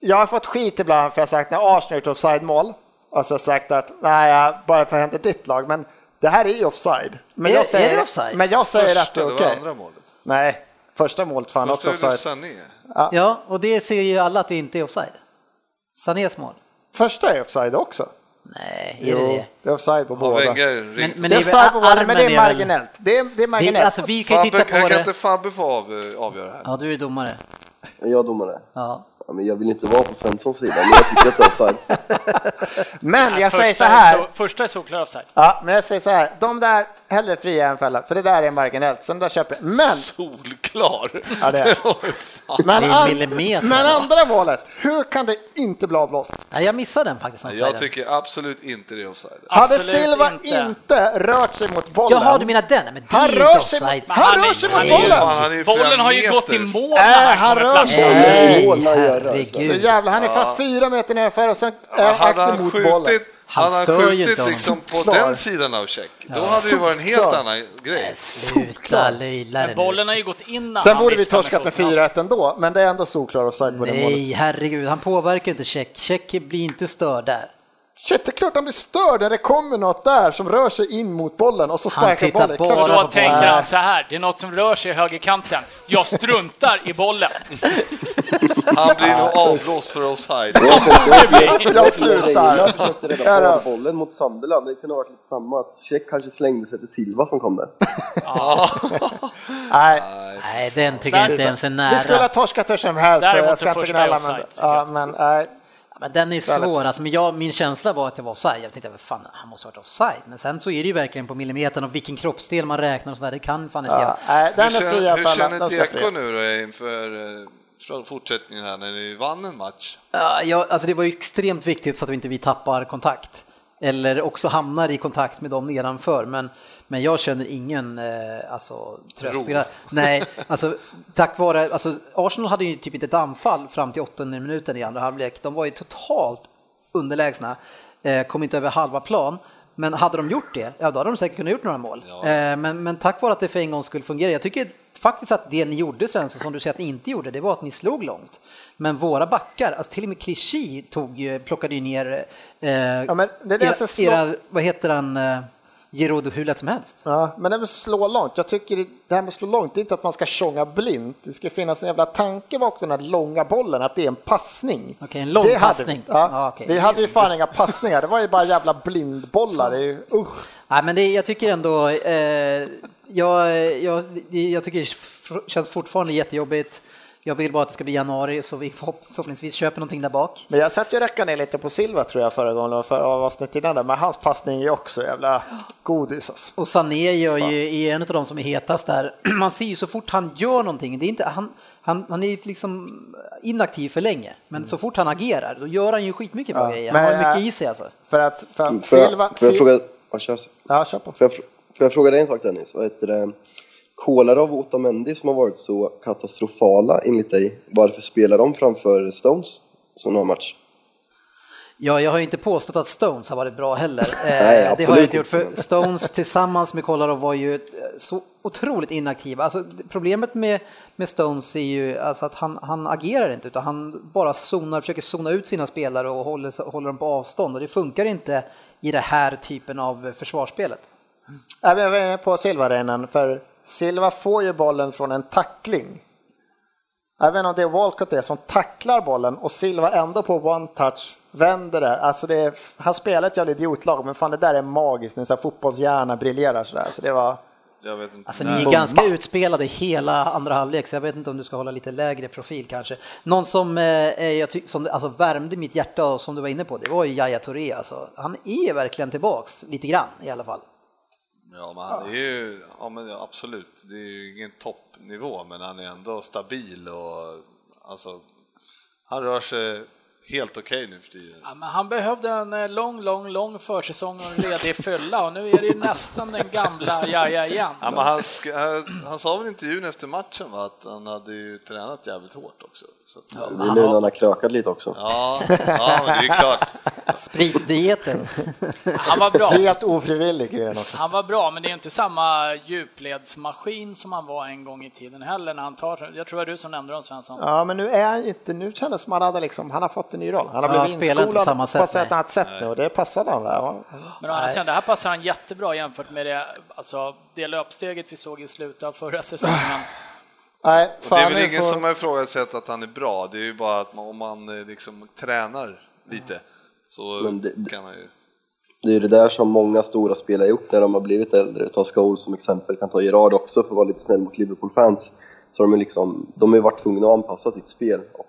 [SPEAKER 5] jag har fått skit ibland för jag har sagt när Arsenal gjort offside-mål och så har jag sagt att nej, jag bara för att hända ditt lag, men det här är ju offside. Men
[SPEAKER 2] Är-
[SPEAKER 5] jag
[SPEAKER 2] är
[SPEAKER 5] säger,
[SPEAKER 2] det offside?
[SPEAKER 5] Men jag säger att
[SPEAKER 3] Första,
[SPEAKER 5] det är
[SPEAKER 3] det
[SPEAKER 5] okej.
[SPEAKER 3] var andra målet.
[SPEAKER 5] Nej, första målet fan
[SPEAKER 3] Första
[SPEAKER 5] också
[SPEAKER 3] är det
[SPEAKER 5] offside.
[SPEAKER 3] Sané.
[SPEAKER 2] Ja, och det ser ju alla att det inte är offside. Sanés mål?
[SPEAKER 5] Första är offside också.
[SPEAKER 2] Nej, är det
[SPEAKER 5] Jo,
[SPEAKER 2] det?
[SPEAKER 5] det är offside på
[SPEAKER 3] Har
[SPEAKER 5] båda.
[SPEAKER 3] Wenger
[SPEAKER 2] Men,
[SPEAKER 3] ringt?
[SPEAKER 2] men
[SPEAKER 5] det
[SPEAKER 2] väl-
[SPEAKER 5] är offside på båda, men det
[SPEAKER 2] armen
[SPEAKER 5] är
[SPEAKER 2] väl-
[SPEAKER 5] marginellt. Det är, det är
[SPEAKER 2] Det
[SPEAKER 5] marginellt.
[SPEAKER 2] är, alltså, vi kan ju
[SPEAKER 3] Fabbe,
[SPEAKER 2] titta på
[SPEAKER 3] kan
[SPEAKER 2] det.
[SPEAKER 3] inte Fabbe få av, eh, avgöra här?
[SPEAKER 2] Ja, du är domare.
[SPEAKER 6] Jag domare.
[SPEAKER 2] Ja.
[SPEAKER 6] Ja, men jag vill inte vara på Svenssons sida, men jag tycker att det är offside.
[SPEAKER 5] Men jag säger så
[SPEAKER 4] Första är
[SPEAKER 5] här.
[SPEAKER 4] så- Första är solklar offside.
[SPEAKER 5] Ja, men jag säger så här. De där hellre fria än fälla, för det där är marginellt. Sen där köper jag. Men
[SPEAKER 3] Solklar klar.
[SPEAKER 5] Ja, det är.
[SPEAKER 3] Oj, fan.
[SPEAKER 5] Men,
[SPEAKER 2] Det är
[SPEAKER 5] an-
[SPEAKER 2] millimeter.
[SPEAKER 5] men andra målet, hur kan det inte bli avblåst?
[SPEAKER 2] Nej, jag missade den faktiskt. när
[SPEAKER 3] Jag
[SPEAKER 2] offsiden.
[SPEAKER 3] tycker absolut inte det är offside.
[SPEAKER 5] Hade
[SPEAKER 4] Absolut
[SPEAKER 5] Silva
[SPEAKER 4] inte.
[SPEAKER 5] inte. rört sig mot bollen?
[SPEAKER 2] Jaha, du menar den? Nej, Men det
[SPEAKER 5] Han
[SPEAKER 2] är ju
[SPEAKER 5] rör
[SPEAKER 2] inte
[SPEAKER 5] sig
[SPEAKER 2] offside.
[SPEAKER 5] mot- Han
[SPEAKER 4] är-
[SPEAKER 5] rör sig mot
[SPEAKER 4] är ju-
[SPEAKER 5] bollen.
[SPEAKER 3] Fan, han är ju flera
[SPEAKER 4] bollen har ju
[SPEAKER 3] meter.
[SPEAKER 4] gått i mål
[SPEAKER 5] Äh,
[SPEAKER 4] när
[SPEAKER 5] han
[SPEAKER 4] han kommer
[SPEAKER 5] rör
[SPEAKER 4] fram.
[SPEAKER 5] sig.
[SPEAKER 2] Nej,
[SPEAKER 6] Mål han gör, alltså.
[SPEAKER 5] Så
[SPEAKER 2] herregud.
[SPEAKER 5] jävlar, han är fan fyra meter nedanför och sen är han
[SPEAKER 3] Hade
[SPEAKER 5] aktiv
[SPEAKER 3] han
[SPEAKER 5] mot bollen.
[SPEAKER 3] skjutit,
[SPEAKER 2] Han
[SPEAKER 3] hade han
[SPEAKER 2] stör ju inte
[SPEAKER 3] skjutit
[SPEAKER 2] honom.
[SPEAKER 3] liksom på
[SPEAKER 5] Klar.
[SPEAKER 3] den sidan av check, då hade det ju varit en helt
[SPEAKER 5] Solklar.
[SPEAKER 3] annan grej.
[SPEAKER 2] Sluta löjla dig
[SPEAKER 4] Men
[SPEAKER 2] nu.
[SPEAKER 4] bollen har ju gått in när
[SPEAKER 5] Sen
[SPEAKER 4] han
[SPEAKER 5] borde vi
[SPEAKER 4] viftar
[SPEAKER 5] torskat med
[SPEAKER 4] foten
[SPEAKER 5] 4-1 ändå, men det är ändå solklar offside på det målet.
[SPEAKER 2] Nej, herregud. Han påverkar inte check. Check blir inte störd där.
[SPEAKER 5] Shit, det är klart han blir störd när det kommer något där som rör sig in mot bollen och så
[SPEAKER 2] Han
[SPEAKER 5] sparkar
[SPEAKER 2] tittar
[SPEAKER 5] bollen.
[SPEAKER 2] bara
[SPEAKER 5] Klart-
[SPEAKER 4] Så
[SPEAKER 2] på
[SPEAKER 4] då
[SPEAKER 2] bollen.
[SPEAKER 4] tänker han så här, det är något som rör sig i högerkanten. Jag struntar i bollen.
[SPEAKER 3] Han blir nog avblåst för offside.
[SPEAKER 5] Jag slutar.
[SPEAKER 6] Jag försökte redan ta bollen mot Sunderland, det kunde ha varit lite samma. Att Check kanske slängde sig till Silva som kom där.
[SPEAKER 5] Nej,
[SPEAKER 2] Nej, den tycker jag
[SPEAKER 4] Där-
[SPEAKER 2] inte ens är
[SPEAKER 5] vi skulle ha
[SPEAKER 2] nära.
[SPEAKER 5] torskat hur som helst. så
[SPEAKER 4] Däremot
[SPEAKER 5] jag
[SPEAKER 4] så
[SPEAKER 5] ska inte
[SPEAKER 4] första
[SPEAKER 5] gnälla,
[SPEAKER 4] offside,
[SPEAKER 5] men,
[SPEAKER 4] tycker
[SPEAKER 5] ja, men nej.
[SPEAKER 2] Men den är ju svår. Alltså, men jag, min känsla var att det var offside. Jag tänkte, vad fan, han måste ha varit offside. Men sen så är det ju verkligen på millimetern och vilken kroppsdel man räknar och sådär. Det kan fan inte
[SPEAKER 5] Ja,
[SPEAKER 2] jag.
[SPEAKER 5] nej, den
[SPEAKER 3] Hur
[SPEAKER 5] är fri i
[SPEAKER 3] känner,
[SPEAKER 5] alla
[SPEAKER 3] hur
[SPEAKER 5] fall.
[SPEAKER 3] känner
[SPEAKER 5] Den ska
[SPEAKER 3] DK
[SPEAKER 5] frias.
[SPEAKER 3] nu då inför eh, från fortsättningen här när ni vann en match?
[SPEAKER 2] Ja, jag, alltså det var ju extremt viktigt så att vi inte vi tappar kontakt. Eller också hamnar i kontakt med dem nedanför. Men, men jag känner ingen eh, alltså, tröstspelare. Nej, alltså tack vare, alltså, Arsenal hade ju typ inte ett anfall fram till åttonde minuten i andra halvlek. De var ju totalt underlägsna, eh, kom inte över halva plan. Men hade de gjort det, ja då hade de säkert kunnat gjort några mål.
[SPEAKER 3] Ja.
[SPEAKER 2] Eh, men, men tack vare att det för en gång skulle fungera. Jag tycker faktiskt att det ni gjorde Svensson, som du säger att ni inte gjorde, det var att ni slog långt. Men våra backar, alltså till och med Clichy tog, ju- plockade ju ner eh,
[SPEAKER 5] Ja, men det är det
[SPEAKER 2] era,
[SPEAKER 5] som slår-
[SPEAKER 2] era, vad heter han, eh, Giroud hur lätt som helst.
[SPEAKER 5] Ja, men det med slå långt. Jag tycker det det här med slå långt, det är inte att man ska tjonga blint. Det ska finnas en jävla tanke bakom den här långa bollen, att det är en passning.
[SPEAKER 2] Okej, en lång
[SPEAKER 5] det hade
[SPEAKER 2] passning.
[SPEAKER 5] Vi, ja.
[SPEAKER 2] Ja, okej.
[SPEAKER 5] vi hade ju fan inga passningar, det var ju bara jävla blindbollar. Det är ju, usch.
[SPEAKER 2] Nej, men det, jag tycker ändå, eh, jag, jag, jag tycker det f- känns fortfarande jättejobbigt. Jag vill bara att det ska bli januari så vi förhopp- förhoppningsvis köper någonting där bak.
[SPEAKER 5] Men jag satt ju och räckade ner lite på Silva tror jag förra gången, och för avsnittet innan där, men hans passning är ju också jävla godis. Alltså.
[SPEAKER 2] Och Sané gör ju, är en av de som är hetast där. Man ser ju så fort han gör någonting, det är inte, han, han, han är ju liksom inaktiv för länge. Men så fort han agerar, då gör han ju skitmycket bra
[SPEAKER 5] Mm. Ja,
[SPEAKER 2] grejer.
[SPEAKER 5] men
[SPEAKER 2] Han har
[SPEAKER 5] jag-
[SPEAKER 2] mycket i sig alltså.
[SPEAKER 5] För att, för att
[SPEAKER 6] Får jag,
[SPEAKER 5] Silva...
[SPEAKER 6] får jag
[SPEAKER 5] Sil-
[SPEAKER 6] fråga... Ja, kör. Får
[SPEAKER 5] Ja, kör på.
[SPEAKER 6] jag, fr- får jag fråga dig en sak Dennis? Vad heter det? Kolarov och Otamendi som har varit så katastrofala enligt dig, varför spelar de framför Stones som har match?
[SPEAKER 2] Ja, jag har ju inte påstått att Stones har varit bra heller. Eh,
[SPEAKER 6] Nej,
[SPEAKER 2] det har jag inte
[SPEAKER 6] absolut
[SPEAKER 2] gjort, för
[SPEAKER 6] inte.
[SPEAKER 2] Stones tillsammans med Kolarov var ju eh, så otroligt inaktiva. Alltså, det- problemet med, med Stones är ju alltså att han, han agerar inte, utan han bara zonar, försöker zona ut sina spelare och håller, så- håller dem på avstånd. Och det funkar inte i det här typen av eh, försvarsspelet.
[SPEAKER 5] Nej, Äh, men Jag var inne på Silva där innan, för Silva får ju bollen från en tackling. Jag vet inte om det är Walcott det som tacklar bollen och Silva ändå på one touch vänder det. Alltså det är, han spelar ett jävla idiotlag, men fan det där är magiskt när så här fotbollshjärna briljerar sådär. Så det var...
[SPEAKER 3] Jag vet inte.
[SPEAKER 2] Alltså,
[SPEAKER 3] när.
[SPEAKER 2] ni är ganska utspelade hela andra halvlek, så jag vet inte om du ska hålla lite lägre profil kanske. Någon som, eh, jag ty- som alltså, värmde mitt hjärta och som du var inne på, det var ju Yahya Touré. Alltså. Han är verkligen tillbaks, lite grann i alla fall.
[SPEAKER 3] Ja, men han är ju, ja, men ja, absolut, det är ju ingen toppnivå, men han är ändå stabil och alltså, han rör sig helt okej nu för tiden.
[SPEAKER 4] Ja, men han behövde en eh, lång, lång, lång försäsong och en ledig fylla och nu är det ju nästan den gamla Jaja igen.
[SPEAKER 3] Ja, men han, ska, han- han sa väl i intervjun efter matchen va, att han hade ju tränat jävligt hårt också. Så att, ja.
[SPEAKER 6] Det är nu när han har krökat lite också.
[SPEAKER 3] Ja, ja, men det är ju klart.
[SPEAKER 2] Spritdieten.
[SPEAKER 4] Han var bra.
[SPEAKER 5] Helt ofrivillig i den också.
[SPEAKER 4] Han var bra, men det är inte samma djupledsmaskin som han var en gång i tiden heller när han tar, jag tror det var du som nämnde dem Svensson.
[SPEAKER 5] Ja, men nu är han ju inte, nu kändes det som han hade liksom, han har fått en ny roll. Han har
[SPEAKER 2] Ja, han
[SPEAKER 5] blivit
[SPEAKER 2] spelar inte på
[SPEAKER 5] inskolad på,
[SPEAKER 2] samma sätt,
[SPEAKER 5] ett
[SPEAKER 2] nej.
[SPEAKER 5] annat sätt nu och det passade han där. Ja.
[SPEAKER 4] Men å andra sidan, det här passar han jättebra jämfört med det, alltså, det löpsteget vi såg i slutet av förra säsongen.
[SPEAKER 5] Nej,
[SPEAKER 3] Och det är väl
[SPEAKER 5] fan, nu
[SPEAKER 3] ingen
[SPEAKER 5] får-
[SPEAKER 3] som har ifrågasatt att han är bra, det är ju bara att man, om man eh, liksom tränar lite så
[SPEAKER 6] Men det-
[SPEAKER 3] kan han ju...
[SPEAKER 6] Det är ju det där som många stora spelare har gjort när de har blivit äldre. Ta Scholes som exempel, kan ta Gerard också för att vara lite snäll mot Liverpool-fans. Så de, är liksom, de har ju varit tvungna att anpassa sitt spel och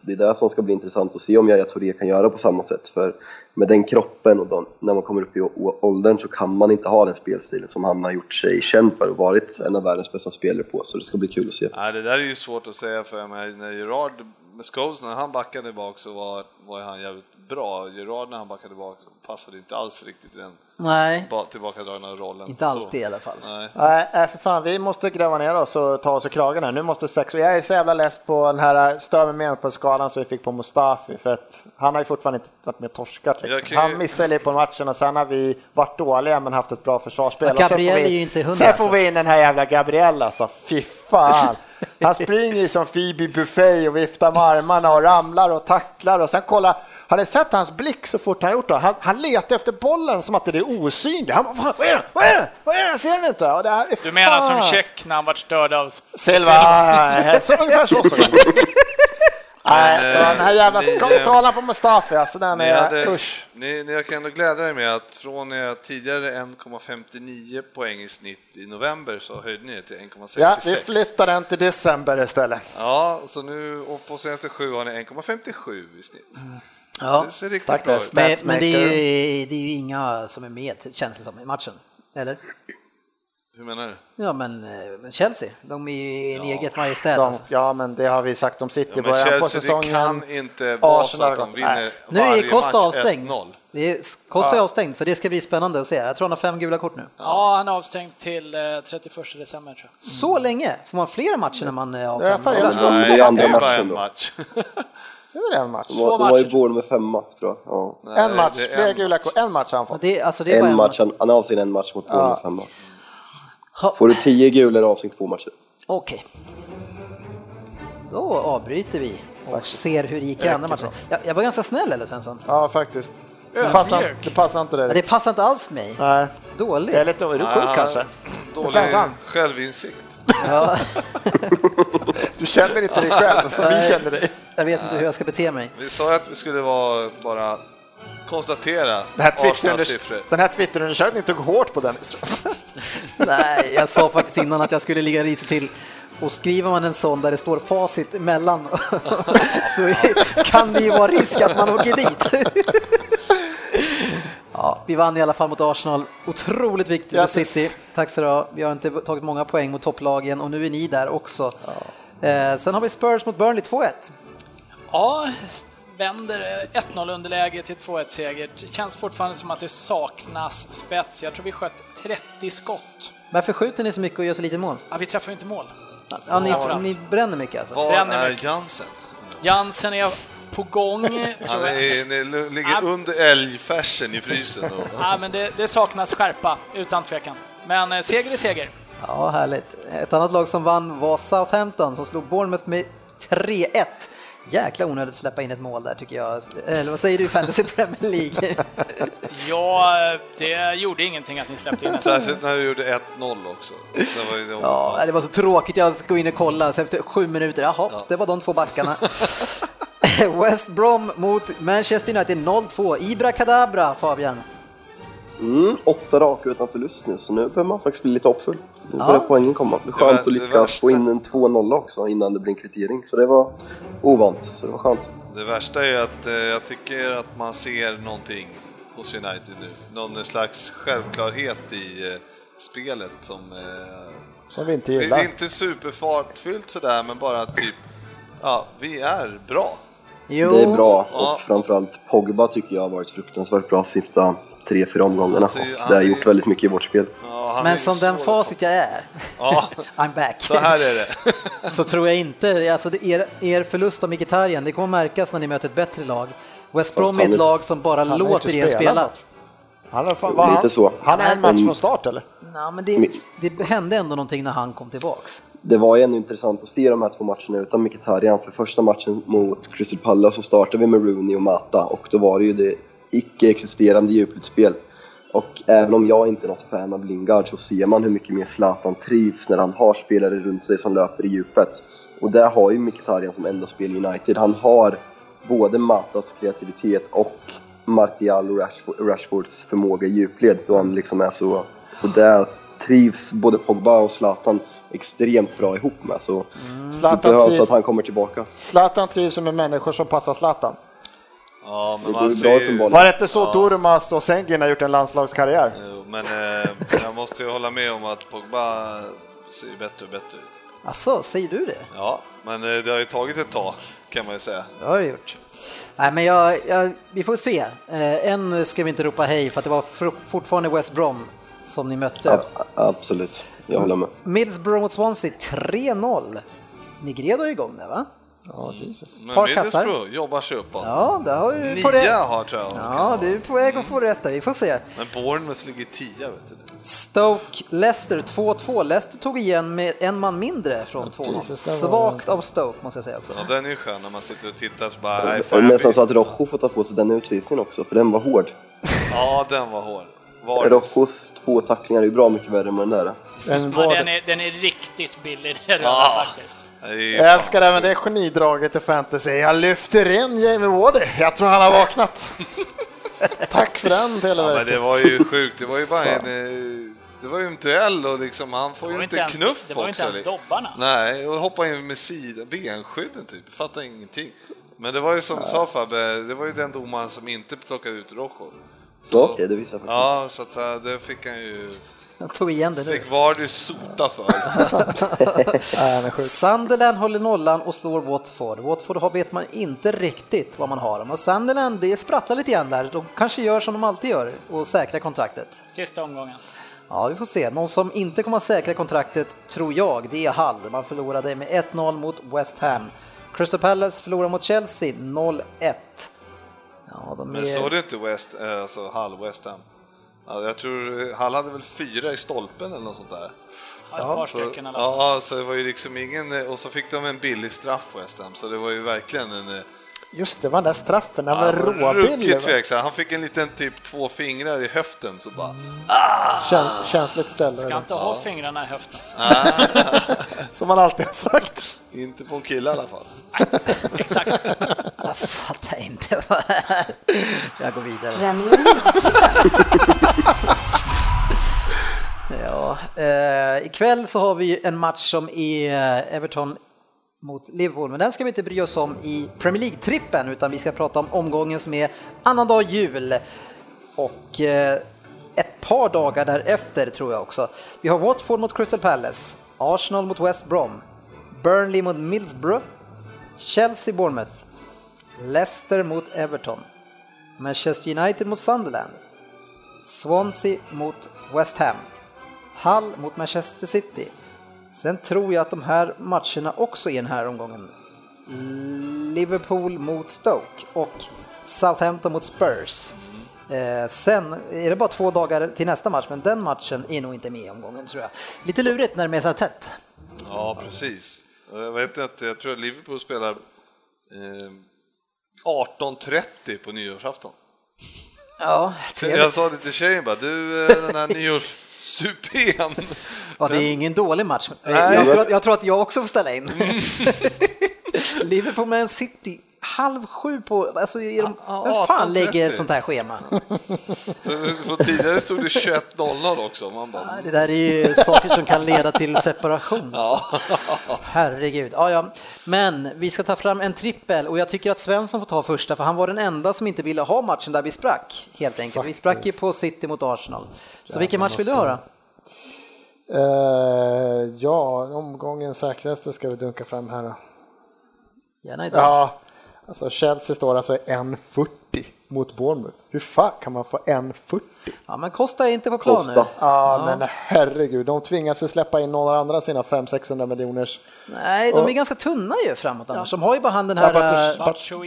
[SPEAKER 6] Det är det som ska bli intressant att se om Yahya Touré kan göra på samma sätt. För med den kroppen och de, när man kommer upp i å- åldern så kan man inte ha den spelstilen som han har gjort sig känd för och varit en av världens bästa spelare på. Så det ska bli kul att se.
[SPEAKER 3] Nej, det där är ju svårt att säga för jag menar, när Gerard, med Scholes, när han backade bak så var, var ju han jävligt bra. Gerard när han backade bak så passade inte alls riktigt i den
[SPEAKER 2] Nej,
[SPEAKER 3] ba- tillbakadragna rollen.
[SPEAKER 2] inte alltid i
[SPEAKER 3] Så.
[SPEAKER 2] alla fall.
[SPEAKER 3] Nej.
[SPEAKER 5] Nej, nej, för fan, vi måste gräva ner oss och ta oss i kragen här. Nu måste sex... Jag är så jävla less på den här eh, stör mig mer på skalan som vi fick på Mustafi för att han har ju fortfarande inte varit med och torskat.
[SPEAKER 3] Jag
[SPEAKER 5] Liksom.
[SPEAKER 3] kan ju-
[SPEAKER 5] Han missar ju lite på matchen och sen har vi varit dåliga men haft ett bra försvarsspel.
[SPEAKER 2] Ja,
[SPEAKER 5] Och sen får
[SPEAKER 2] Gabriel
[SPEAKER 5] vi-
[SPEAKER 2] är ju inte hundra,
[SPEAKER 5] Sen får
[SPEAKER 2] alltså.
[SPEAKER 5] vi in den här jävla Gabriel alltså, fy fan. Han springer ju som Phoebe Buffet och viftar med armarna och ramlar och tacklar och sen kolla har ni sett hans blick så fort han gjort det? Han, han letar efter bollen som att det är osynlig. Han bara, "Fan, vad är det? Vad är det? Vad är det? Ser ni inte? Och det här är
[SPEAKER 4] Du menar
[SPEAKER 5] fan-
[SPEAKER 4] som check när han vart störd av...
[SPEAKER 5] Silva! Så ungefär så såg det Nej, så den här jävla
[SPEAKER 3] Ni, eh,
[SPEAKER 5] skalan på Mustafi, alltså den
[SPEAKER 3] Ni, hade,
[SPEAKER 5] är... Usch.
[SPEAKER 3] ni, ni kan ändå glädja er med att från era tidigare 1,59 poäng i snitt i november så höjde ni er till 1,66.
[SPEAKER 5] Ja, vi flyttar den till december istället.
[SPEAKER 3] Ja, så nu och på senaste sju har ni 1,57 i snitt.
[SPEAKER 2] Ja.
[SPEAKER 3] Det ser riktigt
[SPEAKER 5] Tack,
[SPEAKER 3] bra ut.
[SPEAKER 5] Östen.
[SPEAKER 2] Men, men det, är ju,
[SPEAKER 5] Statsmaker.
[SPEAKER 2] det är ju inga som är med känns det som i matchen, eller?
[SPEAKER 3] Hur menar du?
[SPEAKER 2] Ja men eh, men Chelsea, de är ju i en eget majestät.
[SPEAKER 5] De,
[SPEAKER 2] Alltså.
[SPEAKER 5] ja, men det har vi sagt om City i
[SPEAKER 3] Ja, men
[SPEAKER 5] början på
[SPEAKER 3] Chelsea, det
[SPEAKER 5] säsongen.
[SPEAKER 3] kan inte vara så
[SPEAKER 5] Arsenal
[SPEAKER 3] att de
[SPEAKER 5] har-
[SPEAKER 3] vinner
[SPEAKER 5] Nej.
[SPEAKER 2] Nu
[SPEAKER 3] varje
[SPEAKER 2] är Costa
[SPEAKER 3] match
[SPEAKER 2] avstängd.
[SPEAKER 3] 1-0.
[SPEAKER 2] Det är, Costa är avstängd så det ska bli spännande att se. Jag tror han har fem gula kort nu.
[SPEAKER 4] Ja, han är avstängd till eh, 31 december tror jag.
[SPEAKER 2] Så länge? Får man fler matcher när man eh, har
[SPEAKER 5] Ja,
[SPEAKER 2] fem
[SPEAKER 5] fan, jag
[SPEAKER 2] gula?
[SPEAKER 5] tror-
[SPEAKER 6] men det är
[SPEAKER 3] Nej,
[SPEAKER 6] andra
[SPEAKER 3] det är ju bara en
[SPEAKER 6] matchen då.
[SPEAKER 3] match.
[SPEAKER 5] Det är väl en match?
[SPEAKER 6] De var, de var ju Bournemouth med femma tror jag. Ja.
[SPEAKER 3] Nej,
[SPEAKER 5] En match,
[SPEAKER 3] det är
[SPEAKER 5] fler
[SPEAKER 3] en
[SPEAKER 5] gula
[SPEAKER 3] match.
[SPEAKER 5] kort. En match har han
[SPEAKER 2] Ja,
[SPEAKER 5] fått.
[SPEAKER 2] Det, är- alltså, det är bara
[SPEAKER 6] En match, han, han har avsyn en match mot Bournemouth med femma.
[SPEAKER 2] Ha,
[SPEAKER 6] Får du 10 gula är det avsyn två matcher.
[SPEAKER 2] Okej. Då avbryter vi och ser hur det gick i andra matchen. Jag, jag var ganska snäll eller Svensson?
[SPEAKER 5] Ja, faktiskt. Det
[SPEAKER 4] Ödmjuk.
[SPEAKER 5] passar, det passar inte
[SPEAKER 2] Ja, det
[SPEAKER 5] dig.
[SPEAKER 2] passar inte alls mig.
[SPEAKER 5] Nej,
[SPEAKER 2] Dåligt.
[SPEAKER 5] jag är lite... Är du sjuk
[SPEAKER 3] Ah.
[SPEAKER 5] kanske?
[SPEAKER 3] Dålig
[SPEAKER 5] Flensan.
[SPEAKER 3] självinsikt.
[SPEAKER 2] Ja,
[SPEAKER 5] Du känner inte dig själv som vi känner dig.
[SPEAKER 2] jag vet inte hur jag ska bete mig.
[SPEAKER 3] Vi sa ju att vi skulle vara bara konstatera
[SPEAKER 5] Den här
[SPEAKER 3] Arsenals
[SPEAKER 5] Twitterunders-
[SPEAKER 3] siffror.
[SPEAKER 5] den här Twitterundersökningen tog hårt på Dennis.
[SPEAKER 2] Nej, jag sa faktiskt innan att jag skulle ligga risigt till. Och skriver man en sån där det står facit emellan så kan det ju vara risk att man åker dit. Ja, vi vann i alla fall mot Arsenal. Otroligt viktigt för
[SPEAKER 5] Grattis.
[SPEAKER 2] City. Tack så du ha. Vi har inte tagit många poäng mot topplagen och nu är ni där också. Eh, sen har vi Spurs mot Burnley 2-1.
[SPEAKER 4] Ja, s- vänder eh, 1-0 underläge till 2-1 seger. Det Känns fortfarande som att det saknas spets. Jag tror vi sköt 30 skott.
[SPEAKER 2] Varför skjuter ni så mycket och gör så lite mål?
[SPEAKER 4] Ja, vi träffar ju inte mål.
[SPEAKER 2] Ja, ni,
[SPEAKER 4] Framförallt.
[SPEAKER 2] ni bränner mycket alltså.
[SPEAKER 3] Var
[SPEAKER 4] Den är
[SPEAKER 3] är
[SPEAKER 4] mycket.
[SPEAKER 3] Jansen?
[SPEAKER 4] Jansen är på gång,
[SPEAKER 3] Han
[SPEAKER 4] tror jag.
[SPEAKER 3] är, ni ligger
[SPEAKER 4] Ah.
[SPEAKER 3] under älgfärsen i frysen. Då.
[SPEAKER 4] Ja, men det, det saknas skärpa, utan tvekan. Men eh, seger är seger.
[SPEAKER 2] Ja, härligt. Ett annat lag som vann var Southampton som slog Bournemouth med 3-1. Jäkla onödigt att släppa in ett mål där tycker jag. Eller vad säger du Fantasy Premier League?
[SPEAKER 4] Ja, eh, det gjorde ingenting att ni släppte in en.
[SPEAKER 3] Särskilt när du gjorde 1-0 också. Det var ju det.
[SPEAKER 2] Ja, det var så tråkigt. Jag ska gå in och kolla. Så efter sju minuter, jaha,
[SPEAKER 3] Ja.
[SPEAKER 2] det var de två backarna. West Brom mot Manchester United 0-2. Ibra Kadabra, Fabian.
[SPEAKER 6] Mm, åtta raka utan förlust nu, så nu behöver man faktiskt bli lite hoppfull. Nu
[SPEAKER 2] Ja.
[SPEAKER 6] börjar poängen komma. Det
[SPEAKER 3] Det
[SPEAKER 6] är
[SPEAKER 3] var-
[SPEAKER 6] skönt
[SPEAKER 3] det
[SPEAKER 6] att lyckas få
[SPEAKER 3] värsta-
[SPEAKER 6] in en 2-0 också innan det blir en kvittering, så det var ovant. Så det var skönt.
[SPEAKER 3] Det värsta är att eh, jag tycker att man ser någonting hos United nu. Någon slags självklarhet i eh, spelet som... Eh,
[SPEAKER 5] Som vi inte
[SPEAKER 3] det, det
[SPEAKER 5] gillar.
[SPEAKER 3] är inte superfartfyllt sådär, men bara typ... Ja, vi är bra.
[SPEAKER 2] Jo.
[SPEAKER 6] Det är bra
[SPEAKER 3] Ja.
[SPEAKER 6] och framförallt Pogba tycker jag har varit fruktansvärt bra sista tre, fyra omgångarna.
[SPEAKER 3] Alltså,
[SPEAKER 6] och
[SPEAKER 3] han
[SPEAKER 6] det har
[SPEAKER 3] är-
[SPEAKER 6] gjort väldigt mycket i vårt spel.
[SPEAKER 3] Ja, han är
[SPEAKER 2] Men
[SPEAKER 3] ju
[SPEAKER 2] som den
[SPEAKER 3] så- liksom-
[SPEAKER 2] facit jag är,
[SPEAKER 3] Ja,
[SPEAKER 2] I'm back.
[SPEAKER 3] så här är det.
[SPEAKER 2] så tror jag inte, alltså det- er, er förlust av Mkhitaryan, det kommer märkas när ni möter ett bättre lag. West Brom är
[SPEAKER 6] han
[SPEAKER 2] ett
[SPEAKER 6] är-
[SPEAKER 2] lag som bara
[SPEAKER 5] har
[SPEAKER 2] låter
[SPEAKER 5] inte
[SPEAKER 2] er
[SPEAKER 5] spelat
[SPEAKER 2] spela.
[SPEAKER 5] något. Han har fan,
[SPEAKER 6] Jo,
[SPEAKER 5] var han,
[SPEAKER 6] lite så.
[SPEAKER 5] han är en
[SPEAKER 6] Men-
[SPEAKER 5] match från start eller?
[SPEAKER 2] Nej, men det, det hände ändå någonting när han kom tillbaks.
[SPEAKER 6] Det var ju ändå intressant att se de här två matcherna utan Mkhitaryan. För första matchen mot Crystal Palace så startade vi med Rooney och Mata och då var det ju det icke-existerande djupledsspel. Och även om jag inte är något fan av Lingard så ser man hur mycket mer Zlatan trivs när han har spelare runt sig som löper i djupet. Och där har ju Mkhitaryan som enda spel i United. Han har både Matas kreativitet och Martial och Rashford, Rashfords förmåga i djupled då han liksom är så... Och där trivs både Pogba och Zlatan extremt bra ihop med. Så det
[SPEAKER 5] Zlatan
[SPEAKER 6] behövs att
[SPEAKER 5] trivs,
[SPEAKER 6] han kommer tillbaka.
[SPEAKER 5] Zlatan trivs ju med människor som passar Zlatan.
[SPEAKER 3] Ja, men
[SPEAKER 6] Det
[SPEAKER 3] man
[SPEAKER 6] går ju
[SPEAKER 3] ser
[SPEAKER 6] bra
[SPEAKER 3] ju...
[SPEAKER 6] uppenbarligen.
[SPEAKER 5] Var det inte så Durmaz och Sengin har gjort en landslagskarriär?
[SPEAKER 3] Jo, Men eh, jag måste ju hålla med om att Pogba ser ju bättre och bättre ut.
[SPEAKER 2] Alltså, säger du det?
[SPEAKER 3] Ja, men eh, det har ju tagit ett tag kan man ju säga.
[SPEAKER 2] Det har det gjort. Nej, men jag, jag, vi får se. Eh, än ska vi inte ropa hej för att det var fr- fortfarande West Brom som ni mötte.
[SPEAKER 6] Ja, absolut, jag håller med.
[SPEAKER 2] Middlesbrough mot Swansea 3-0. Negredo är igång där va? Mm.
[SPEAKER 3] Men
[SPEAKER 2] Par kassar.
[SPEAKER 3] Middlesbrough jobbar sig uppåt.
[SPEAKER 2] Ja, där har du på
[SPEAKER 3] Nia
[SPEAKER 2] rätt.
[SPEAKER 3] har tror jag.
[SPEAKER 2] Ja, du är på väg att få rätt där, vi får se.
[SPEAKER 3] Men Bournemouth ligger tia vet du.
[SPEAKER 2] Stoke, Leicester 2-2. Leicester tog igen med en man mindre från 2-0.
[SPEAKER 5] det var-
[SPEAKER 2] Svagt av Stoke måste jag säga också.
[SPEAKER 3] Ja, den är ju skön när man sitter och tittar så bara, nej
[SPEAKER 6] Och
[SPEAKER 3] fan, jag
[SPEAKER 6] nästan
[SPEAKER 3] blir-
[SPEAKER 6] så att Rojo får ta på sig den utvisningen också, för den var hård.
[SPEAKER 3] Ja, den var hård. Var det?
[SPEAKER 6] Rojos två tacklingar är ju bra mycket värre än vad den där.
[SPEAKER 5] En
[SPEAKER 4] Ja,
[SPEAKER 5] var...
[SPEAKER 4] den, är, den är riktigt billig den röda
[SPEAKER 3] Ja.
[SPEAKER 4] faktiskt.
[SPEAKER 3] Nej,
[SPEAKER 4] Äh,
[SPEAKER 5] Jag
[SPEAKER 3] fan.
[SPEAKER 5] älskar även det genidraget i fantasy. Jag lyfter in Jamie Wardy. Jag tror han har vaknat. Tack för den
[SPEAKER 3] Ja, men
[SPEAKER 5] Televerket.
[SPEAKER 3] det var ju sjukt. Det var ju bara en... eh, Det var ju en duell och liksom, han får
[SPEAKER 4] Det var
[SPEAKER 3] ju
[SPEAKER 4] inte
[SPEAKER 3] inte
[SPEAKER 4] ens-
[SPEAKER 3] knuff
[SPEAKER 4] det var ju inte
[SPEAKER 3] också,
[SPEAKER 4] ens
[SPEAKER 3] liksom.
[SPEAKER 4] dobbarna.
[SPEAKER 3] Nej, och hoppa in med sida, benskydden typ. Fattar ingenting. Men det var ju som du sa Fabbe, det var ju den domaren som inte plockade ut Rojo.
[SPEAKER 6] Ja, Okej, det visar jag faktiskt.
[SPEAKER 3] Ja, så att eh, det fick han ju...
[SPEAKER 2] Jag tog igen det nu.
[SPEAKER 3] Fick Vardy sota för.
[SPEAKER 2] Sunderland håller nollan och slår Watford. Watford har- vet man inte riktigt vad man har dem. Och Sunderland, det sprattlar lite grann där. De kanske gör som de alltid gör och säkrar kontraktet.
[SPEAKER 4] Sista omgången.
[SPEAKER 2] Ja, vi får se. Någon som inte kommer att säkra kontraktet, tror jag, det är Hall. Man förlorade med 1-0 mot West Ham. Crystal Palace förlorar mot Chelsea 0-1. Ja, de
[SPEAKER 3] Men
[SPEAKER 2] är...
[SPEAKER 3] såg du inte West, eh, alltså Hall, West Ham? Ja, jag tror Hall hade väl fyra i stolpen eller något sånt där.
[SPEAKER 4] Ja, ett par
[SPEAKER 3] Så,
[SPEAKER 4] stycken i alla fall.
[SPEAKER 3] ja, så det var ju liksom ingen, eh, och så fick de en billig straff West Ham, så det var ju verkligen en... eh,
[SPEAKER 5] Just det, var den där straffen. Den var
[SPEAKER 3] han var
[SPEAKER 5] råbillig. va?
[SPEAKER 3] Ruggigt tveksam. Han fick en liten typ två fingrar i höften så bara...
[SPEAKER 5] Käns- Känsligt ställe.
[SPEAKER 4] Ska
[SPEAKER 5] eller?
[SPEAKER 4] inte ha fingrarna i höften.
[SPEAKER 5] Som man alltid har sagt.
[SPEAKER 3] Inte på en kille i alla fall.
[SPEAKER 4] Exakt.
[SPEAKER 2] Jag fattar inte vad det är. Jag går vidare.
[SPEAKER 7] Premier League,
[SPEAKER 2] Ja, eh, ikväll så har vi ju en match som är eh, Everton mot Liverpool, men den ska vi inte bry oss om i Premier League-trippen utan vi ska prata om omgången som är annandag jul och eh, ett par dagar därefter tror jag också. Vi har Watford mot Crystal Palace, Arsenal mot West Brom, Burnley mot Middlesbrough, Chelsea Bournemouth, Leicester mot Everton, Manchester United mot Sunderland, Swansea mot West Ham. Hull mot Manchester City. Sen tror jag att de här matcherna också är den här omgången. Liverpool mot Stoke och Southampton mot Spurs. Eh, sen är det bara två dagar till nästa match, men den matchen är nog inte med i omgången tror jag. Lite lurigt när de är så här tätt.
[SPEAKER 3] Ja, precis. Och Jag vet att jag tror att Liverpool spelar eh, 18.30 på nyårsafton.
[SPEAKER 2] Ja,
[SPEAKER 3] Jag
[SPEAKER 2] trevligt.
[SPEAKER 3] sa det till tjejen bara, du eh, den här nyårssupén.
[SPEAKER 2] Ja, det är ingen dålig match. Eh,
[SPEAKER 3] Nej.
[SPEAKER 2] Jag tror, att, jag tror att jag också får ställa in. Liverpool med City halv sju på... Alltså, är de,
[SPEAKER 3] Ja,
[SPEAKER 2] vem fan
[SPEAKER 3] 18.30.
[SPEAKER 2] lägger ett sånt här schema?
[SPEAKER 3] Så, för tidigare stod det 21.00 också. Man bara,
[SPEAKER 2] Ja, Det där är ju saker som kan leda till separation. Alltså. Herregud. Ja, ja. Men vi ska ta fram en trippel och jag tycker att Svensson får ta första för han var den enda som inte ville ha matchen där vi sprack. Helt enkelt. Vi sprack ju på City mot Arsenal. Så vilken match vill du ha då?
[SPEAKER 5] Eh, ja, omgången säkraste ska vi dunka fram här då.
[SPEAKER 2] Gärna idag.
[SPEAKER 5] Ja, alltså Chelsea står alltså 1.40 mot Bournemouth. Hur fan kan man få 1.40?
[SPEAKER 2] Ja, men Costa är inte på plan
[SPEAKER 6] Costa.
[SPEAKER 5] Ja, men herregud, de tvingas ju släppa in några andra sina 500-600 miljoners.
[SPEAKER 2] nu. Nej, de är ganska tunna ju framåt annars. De har ju bara han den här...
[SPEAKER 5] Batshuayi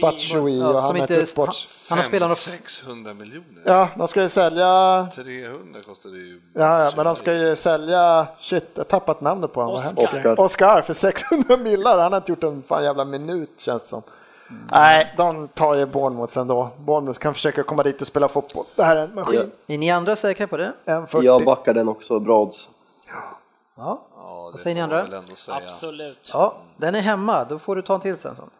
[SPEAKER 2] äh,
[SPEAKER 5] Bat- Batshuayi
[SPEAKER 2] ja,
[SPEAKER 5] och han
[SPEAKER 2] som
[SPEAKER 5] är
[SPEAKER 2] inte,
[SPEAKER 5] typ
[SPEAKER 2] han,
[SPEAKER 5] bort.
[SPEAKER 2] han har spelat något
[SPEAKER 3] 600 miljoner.
[SPEAKER 5] Ja, de ska ju sälja...
[SPEAKER 3] 300 kostar det ju.
[SPEAKER 5] Ja, ja, men de ska ju sälja... Shit, jag har tappat namnet på honom. vad hemskt.
[SPEAKER 6] Oscar.
[SPEAKER 5] Oscar för 600 millar. Han har inte gjort en fan jävla minut känns det som. Nej, de tar ju Bournemouth ändå. Bournemouth kan försöka komma dit och spela fotboll. Det här är en maskin.
[SPEAKER 2] Är ni andra säkra på det?
[SPEAKER 5] En
[SPEAKER 6] Ja,
[SPEAKER 5] 40.
[SPEAKER 6] jag backar den också, bra odds.
[SPEAKER 2] Ja.
[SPEAKER 3] Ja, det
[SPEAKER 2] Vad säger ni
[SPEAKER 3] får
[SPEAKER 2] andra?
[SPEAKER 3] man väl ändå säga.
[SPEAKER 4] Absolut.
[SPEAKER 2] Ja, den är hemma. Då får du ta en till Svensson.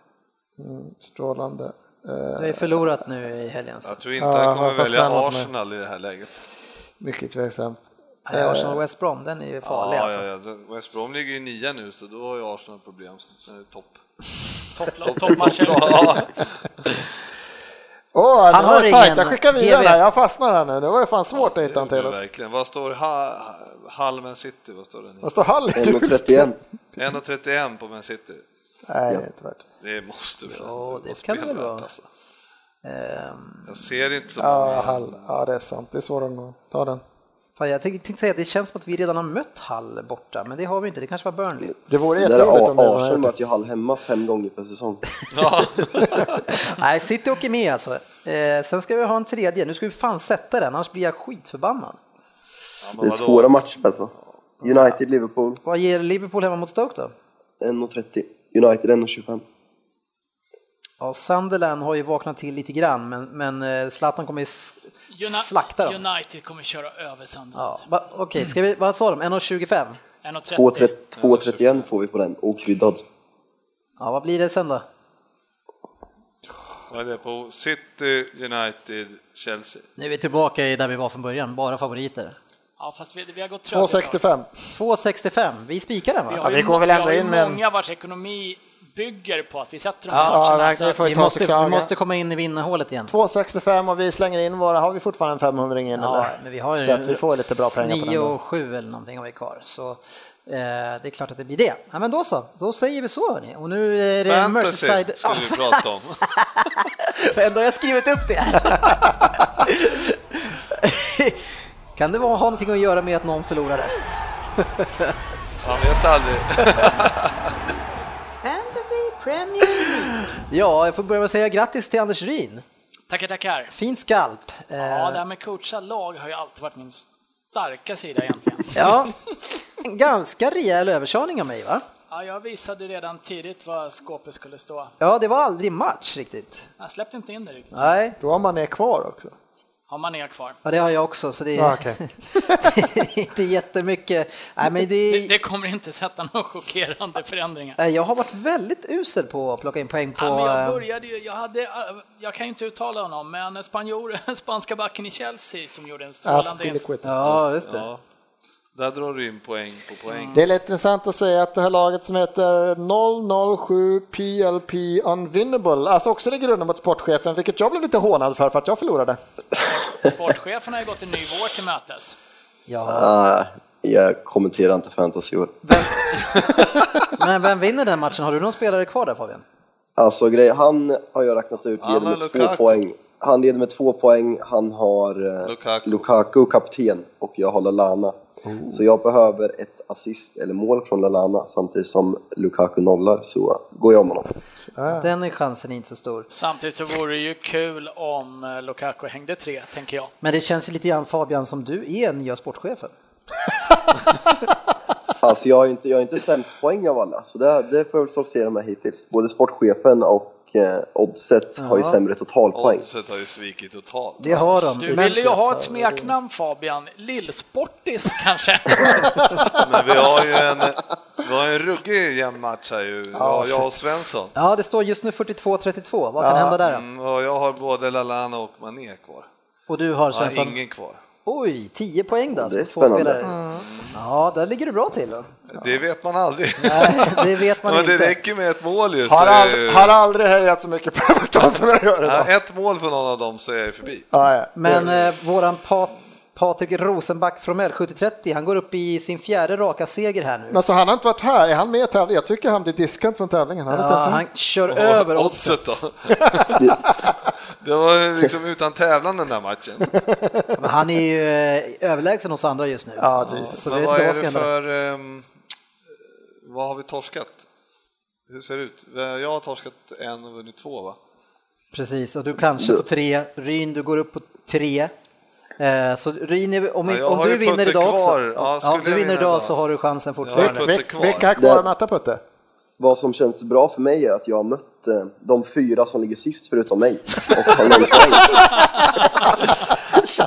[SPEAKER 5] Strålande. Eh,
[SPEAKER 2] Du har ju förlorat nu i helgen. så-
[SPEAKER 3] Jag tror inte
[SPEAKER 5] Ja,
[SPEAKER 3] han kommer
[SPEAKER 5] jag får
[SPEAKER 3] välja
[SPEAKER 5] snälla mot mig.
[SPEAKER 3] Arsenal i det här läget.
[SPEAKER 5] mycket tveksamt.
[SPEAKER 2] Nej, Arsenal West Brom, den är ju farlig
[SPEAKER 3] Eh, ja,
[SPEAKER 2] alltså.
[SPEAKER 3] ja, ja. Den- West Brom ligger ju nia nu, så då har ju Arsenal problem. Så, eh, topp.
[SPEAKER 4] Topp- Toppmatchen.
[SPEAKER 3] Ja,
[SPEAKER 5] Åh,
[SPEAKER 2] Han
[SPEAKER 5] han
[SPEAKER 2] har
[SPEAKER 5] har tajt. Jag
[SPEAKER 2] ingen
[SPEAKER 5] skickar vidare
[SPEAKER 2] GV.
[SPEAKER 5] här. Jag fastnar här nu. Det var ju fan svårt att hitta en
[SPEAKER 3] det är
[SPEAKER 5] till
[SPEAKER 3] det
[SPEAKER 5] oss.
[SPEAKER 3] verkligen. Vad står ha, Halmen City? Vad står den i?
[SPEAKER 5] Vad står Hall? Du vill
[SPEAKER 6] 1.31.
[SPEAKER 3] 1.31 på Man City.
[SPEAKER 5] spela- Nej, det är inte värt.
[SPEAKER 3] Det måste väl
[SPEAKER 2] Ja,
[SPEAKER 3] inte
[SPEAKER 2] det kan det väl
[SPEAKER 3] spelvärt,
[SPEAKER 2] vara.
[SPEAKER 3] alltså.
[SPEAKER 2] Ehm,
[SPEAKER 3] Jag ser inte så
[SPEAKER 5] Ja,
[SPEAKER 3] många.
[SPEAKER 5] Hall. Ja, det är sant. Det är svårt omgång. Ta den.
[SPEAKER 2] fan, jag tänkte tänkte säga att det känns som att vi redan har mött Hall borta, men det har vi inte. Det kanske var Burnley.
[SPEAKER 5] Det vore
[SPEAKER 6] Det där
[SPEAKER 5] jätteroligt om det var
[SPEAKER 6] Arsenal
[SPEAKER 5] här.
[SPEAKER 6] möter ju Hall hemma fem gånger per säsong.
[SPEAKER 3] Ja.
[SPEAKER 2] Nej, City åker med alltså. Eh, sen ska vi ha en tredje. Nu ska vi fan sätta den, annars blir jag skitförbannad.
[SPEAKER 3] Ja, men
[SPEAKER 6] Det är
[SPEAKER 3] vadå?
[SPEAKER 6] svåra matcher alltså. United, Liverpool,
[SPEAKER 2] Vad ger Liverpool hemma mot Stoke då?
[SPEAKER 6] 1.30. United 1.25.
[SPEAKER 2] Ja, Sunderland har ju vaknat till lite grann, men, men eh, Zlatan kommer ju s-
[SPEAKER 4] Uni-
[SPEAKER 2] slakta dem.
[SPEAKER 4] United kommer köra över
[SPEAKER 2] Ja,
[SPEAKER 4] Sunderland.
[SPEAKER 2] va- Okej, ska vi, vad sa de? 1.25?
[SPEAKER 4] 1.30.
[SPEAKER 6] 2.31 får vi på den, okryddad.
[SPEAKER 2] Ja, vad blir det sen då?
[SPEAKER 3] Vad är det på City, United, Chelsea?
[SPEAKER 2] Nu är vi tillbaka i där vi var från början, bara favoriter.
[SPEAKER 4] Ja, fast vi, vi har gått trögt.
[SPEAKER 5] 2,65.
[SPEAKER 2] 2.65, vi spikar den
[SPEAKER 4] Vi
[SPEAKER 2] va?
[SPEAKER 5] Ja,
[SPEAKER 4] har ju
[SPEAKER 5] vi går väl
[SPEAKER 4] må-
[SPEAKER 5] ändå
[SPEAKER 4] vi har
[SPEAKER 5] in
[SPEAKER 4] ju
[SPEAKER 5] med en-
[SPEAKER 4] många vars ekonomi bygger på att vi sätter de
[SPEAKER 2] Ja,
[SPEAKER 4] här matcherna.
[SPEAKER 5] verkligen,
[SPEAKER 4] så att
[SPEAKER 5] får-
[SPEAKER 2] Vi
[SPEAKER 5] ta
[SPEAKER 2] måste,
[SPEAKER 5] Chicago.
[SPEAKER 2] vi måste komma in i vinnarhålet igen.
[SPEAKER 5] 2,65 och vi slänger in våra. Har vi fortfarande en 500 in
[SPEAKER 2] Ja,
[SPEAKER 5] eller?
[SPEAKER 2] men vi har ju
[SPEAKER 5] Så att vi får lite bra pengar på
[SPEAKER 2] 9
[SPEAKER 5] den. då.
[SPEAKER 2] och 7 eller någonting har vi kvar. Så eh, det är klart att det blir det. Ja, men då så, då säger vi så hörni. Och nu är det
[SPEAKER 3] Fantasy
[SPEAKER 2] Merseyside...
[SPEAKER 3] skulle vi prata om.
[SPEAKER 2] Ändå har jag skrivit upp det. kan det vara, ha någonting att göra med att någon förlorade?
[SPEAKER 3] Man vet aldrig.
[SPEAKER 7] Fantasy Premier League.
[SPEAKER 2] Ja, jag får börja med att säga grattis till Anders Ryn.
[SPEAKER 4] Tackar, tackar.
[SPEAKER 2] Fin skalp. Eh,
[SPEAKER 4] Ja, det här med coacha lag har ju alltid varit min starka sida egentligen.
[SPEAKER 2] ja. En Ganska rejäl överkörning av mig va?
[SPEAKER 4] Ja, jag visade ju redan tidigt vad skåpet skulle stå.
[SPEAKER 2] Ja, det var aldrig match riktigt.
[SPEAKER 4] Jag släppte inte in det riktigt.
[SPEAKER 2] Nej,
[SPEAKER 5] Då har man är kvar också.
[SPEAKER 4] Har man er kvar.
[SPEAKER 2] ja, det har jag också så det är
[SPEAKER 5] Ja, okej.
[SPEAKER 2] inte jättemycket. Nej, men
[SPEAKER 4] Det,
[SPEAKER 2] det...
[SPEAKER 4] det kommer inte sätta några chockerande förändringar.
[SPEAKER 2] Nej, Jag har varit väldigt usel på att plocka in poäng på...
[SPEAKER 4] Ja, men jag
[SPEAKER 2] eh,
[SPEAKER 4] började ju, jag hade, eh, jag kan ju inte uttala honom, men spanjor, spanska backen i Chelsea som gjorde en strålande insats.
[SPEAKER 5] Aspilicueta.
[SPEAKER 2] Ja, just det.
[SPEAKER 3] Ja. Där drar du in poäng på poäng.
[SPEAKER 5] Det är lite intressant att säga att det här laget som heter 007 PLP Unvinnable, alltså också ligger under mot sportchefen, vilket jag blev lite hånad för för att jag förlorade.
[SPEAKER 4] Sportchefen har ju gått en ny vår till mötes.
[SPEAKER 2] Ja.
[SPEAKER 6] Ah, jag kommenterar inte fantasy i år.
[SPEAKER 2] Men vem vinner den matchen? Har du någon spelare kvar där Fabian?
[SPEAKER 6] Alltså grej, han har jag räknat ut leder
[SPEAKER 3] Alla
[SPEAKER 6] med
[SPEAKER 3] Lukaku.
[SPEAKER 6] två poäng. Han leder med två poäng, han har eh,
[SPEAKER 3] Lukaku. Oh.
[SPEAKER 6] Lukaku kapten och jag har Lalana. Så jag behöver ett assist eller mål från Lalana samtidigt som Lukaku nollar så går jag med honom.
[SPEAKER 2] Den är chansen inte så stor.
[SPEAKER 4] Samtidigt så vore det ju kul om eh, Lukaku hängde tre, tänker jag.
[SPEAKER 2] Men det känns ju lite grann Fabian som du är nya sportchefen.
[SPEAKER 6] Alltså jag har ju inte, jag har inte sämst poäng av alla, så det, det får jag väl sortera med hittills. Både sportchefen och eh, oddset har ju
[SPEAKER 2] Ja.
[SPEAKER 6] sämre totalpoäng.
[SPEAKER 3] Oddset har ju svikit totalt.
[SPEAKER 2] Det har de.
[SPEAKER 4] Alltså, Du
[SPEAKER 2] Men-
[SPEAKER 4] ville ju ha ett smeknamn Fabian, Lillsportis kanske?
[SPEAKER 3] Men vi har ju en, vi har en ruggig jämn match här ju. Ja, jag och Svensson.
[SPEAKER 2] Ja, det står just nu 42-32. Vad kan hända där då?
[SPEAKER 3] Mm, och jag har både Lalana och Mané kvar.
[SPEAKER 2] Och du har
[SPEAKER 3] Jag har
[SPEAKER 2] Svensson?
[SPEAKER 3] ingen kvar.
[SPEAKER 2] Oj, 10 poäng där.
[SPEAKER 6] Det är
[SPEAKER 2] alltså, Två
[SPEAKER 6] spännande.
[SPEAKER 2] spelare. Ja, där ligger du bra till. då.
[SPEAKER 3] Det vet man aldrig.
[SPEAKER 2] Nej, det vet man
[SPEAKER 3] Men det
[SPEAKER 2] inte.
[SPEAKER 3] räcker med ett mål ju. Så
[SPEAKER 5] Har,
[SPEAKER 3] är
[SPEAKER 5] ald-
[SPEAKER 3] ju...
[SPEAKER 5] har aldrig hejat så mycket på Everton som jag gör idag.
[SPEAKER 3] Ja, ett mål för någon av dem så är jag förbi.
[SPEAKER 5] Ja, ja.
[SPEAKER 2] Men eh, våran Pat Patrik Rosenback Fromell, 70-30, han går upp i sin fjärde raka seger här nu.
[SPEAKER 5] Men så han har inte varit här, är han med i tävlingen? Jag tycker han blir diskad från tävlingen. Han är inte
[SPEAKER 2] Ja,
[SPEAKER 5] ens här.
[SPEAKER 2] han kör över oddsen.
[SPEAKER 3] oddset då. det var ju liksom utan tävlan den där matchen.
[SPEAKER 2] Men Han är ju eh, överlägsen oss andra just nu.
[SPEAKER 5] Ja, Jesus.
[SPEAKER 2] så
[SPEAKER 3] Men
[SPEAKER 2] vet
[SPEAKER 3] vad
[SPEAKER 2] inte
[SPEAKER 3] är
[SPEAKER 2] som händer.
[SPEAKER 3] det för... ehm, vad har vi torskat? Hur ser det ut? Eh, Jag har torskat en och vunnit två va?
[SPEAKER 2] Precis, och du kanske får tre. Ryn, du går upp på tre. Eh, Så Ryn, är- om,
[SPEAKER 3] Ja, jag
[SPEAKER 2] om
[SPEAKER 3] har
[SPEAKER 2] du
[SPEAKER 3] ju
[SPEAKER 2] vinner
[SPEAKER 3] Putte
[SPEAKER 2] idag också,
[SPEAKER 3] kvar. Ja, skulle
[SPEAKER 2] ja, du
[SPEAKER 3] jag
[SPEAKER 2] vinner
[SPEAKER 3] vinna
[SPEAKER 2] idag
[SPEAKER 3] idag?
[SPEAKER 2] så har du chansen
[SPEAKER 3] Jag har
[SPEAKER 2] fortfarande.
[SPEAKER 3] ju Putte kvar.
[SPEAKER 5] Vilka är kvar
[SPEAKER 6] Det-
[SPEAKER 5] att möta Putte?
[SPEAKER 6] Vad som känns bra för mig är att jag har mött eh, de fyra som ligger sist förutom mig och har noll poäng.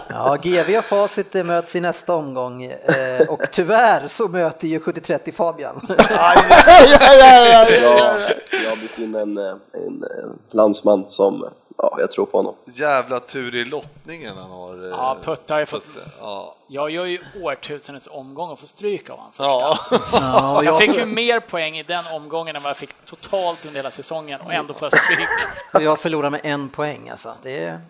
[SPEAKER 2] Ja, GV och Facit eh, möts i nästa omgång eh, och tyvärr så möter ju 70-30 Fabian.
[SPEAKER 5] Ja, ja, ja, ja.
[SPEAKER 6] Jag, jag har bytt in en, eh, en eh, landsman som ja, jag tror på honom.
[SPEAKER 3] Jävla tur i lottningen han har. eh,
[SPEAKER 4] Ja, Putte har ju fått...
[SPEAKER 3] Putte. Ja.
[SPEAKER 4] Jag gör ju årtusendets omgång och får stryk av honom första.
[SPEAKER 3] Ja.
[SPEAKER 2] Ja, och
[SPEAKER 4] Jag
[SPEAKER 2] jag,
[SPEAKER 4] fick ju mer poäng i den omgången än vad jag fick totalt under hela säsongen och ändå får jag stryk.
[SPEAKER 2] och jag förlorar med en poäng alltså. Det är...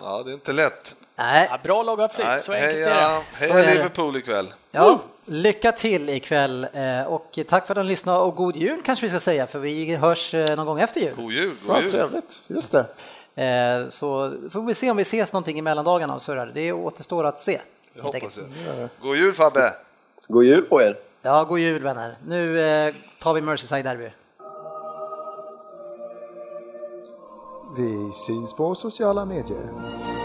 [SPEAKER 3] ja, det är inte lätt.
[SPEAKER 2] Nej,
[SPEAKER 4] Ja, bra lag har flytt,
[SPEAKER 3] Nej,
[SPEAKER 4] så enkelt är det.
[SPEAKER 3] heja
[SPEAKER 2] Så är det.
[SPEAKER 3] heja Liverpool ikväll.
[SPEAKER 2] ja, lycka till ikväll eh, och tack för att ni lyssnade och god jul kanske vi ska säga för vi hörs eh, någon gång efter jul.
[SPEAKER 3] God jul, god
[SPEAKER 5] Vad
[SPEAKER 3] jul.
[SPEAKER 5] trevligt, just det.
[SPEAKER 2] Eh, Så får vi se om vi ses någonting i mellandagarna och surrar. Det återstår att se.
[SPEAKER 3] Jag
[SPEAKER 2] helt
[SPEAKER 3] hoppas
[SPEAKER 2] enkelt.
[SPEAKER 3] det. God jul Fabbe!
[SPEAKER 6] God jul på er!
[SPEAKER 2] Ja, god jul vänner. Nu eh, tar vi Merseyside-derby.
[SPEAKER 8] Vi syns på sociala medier.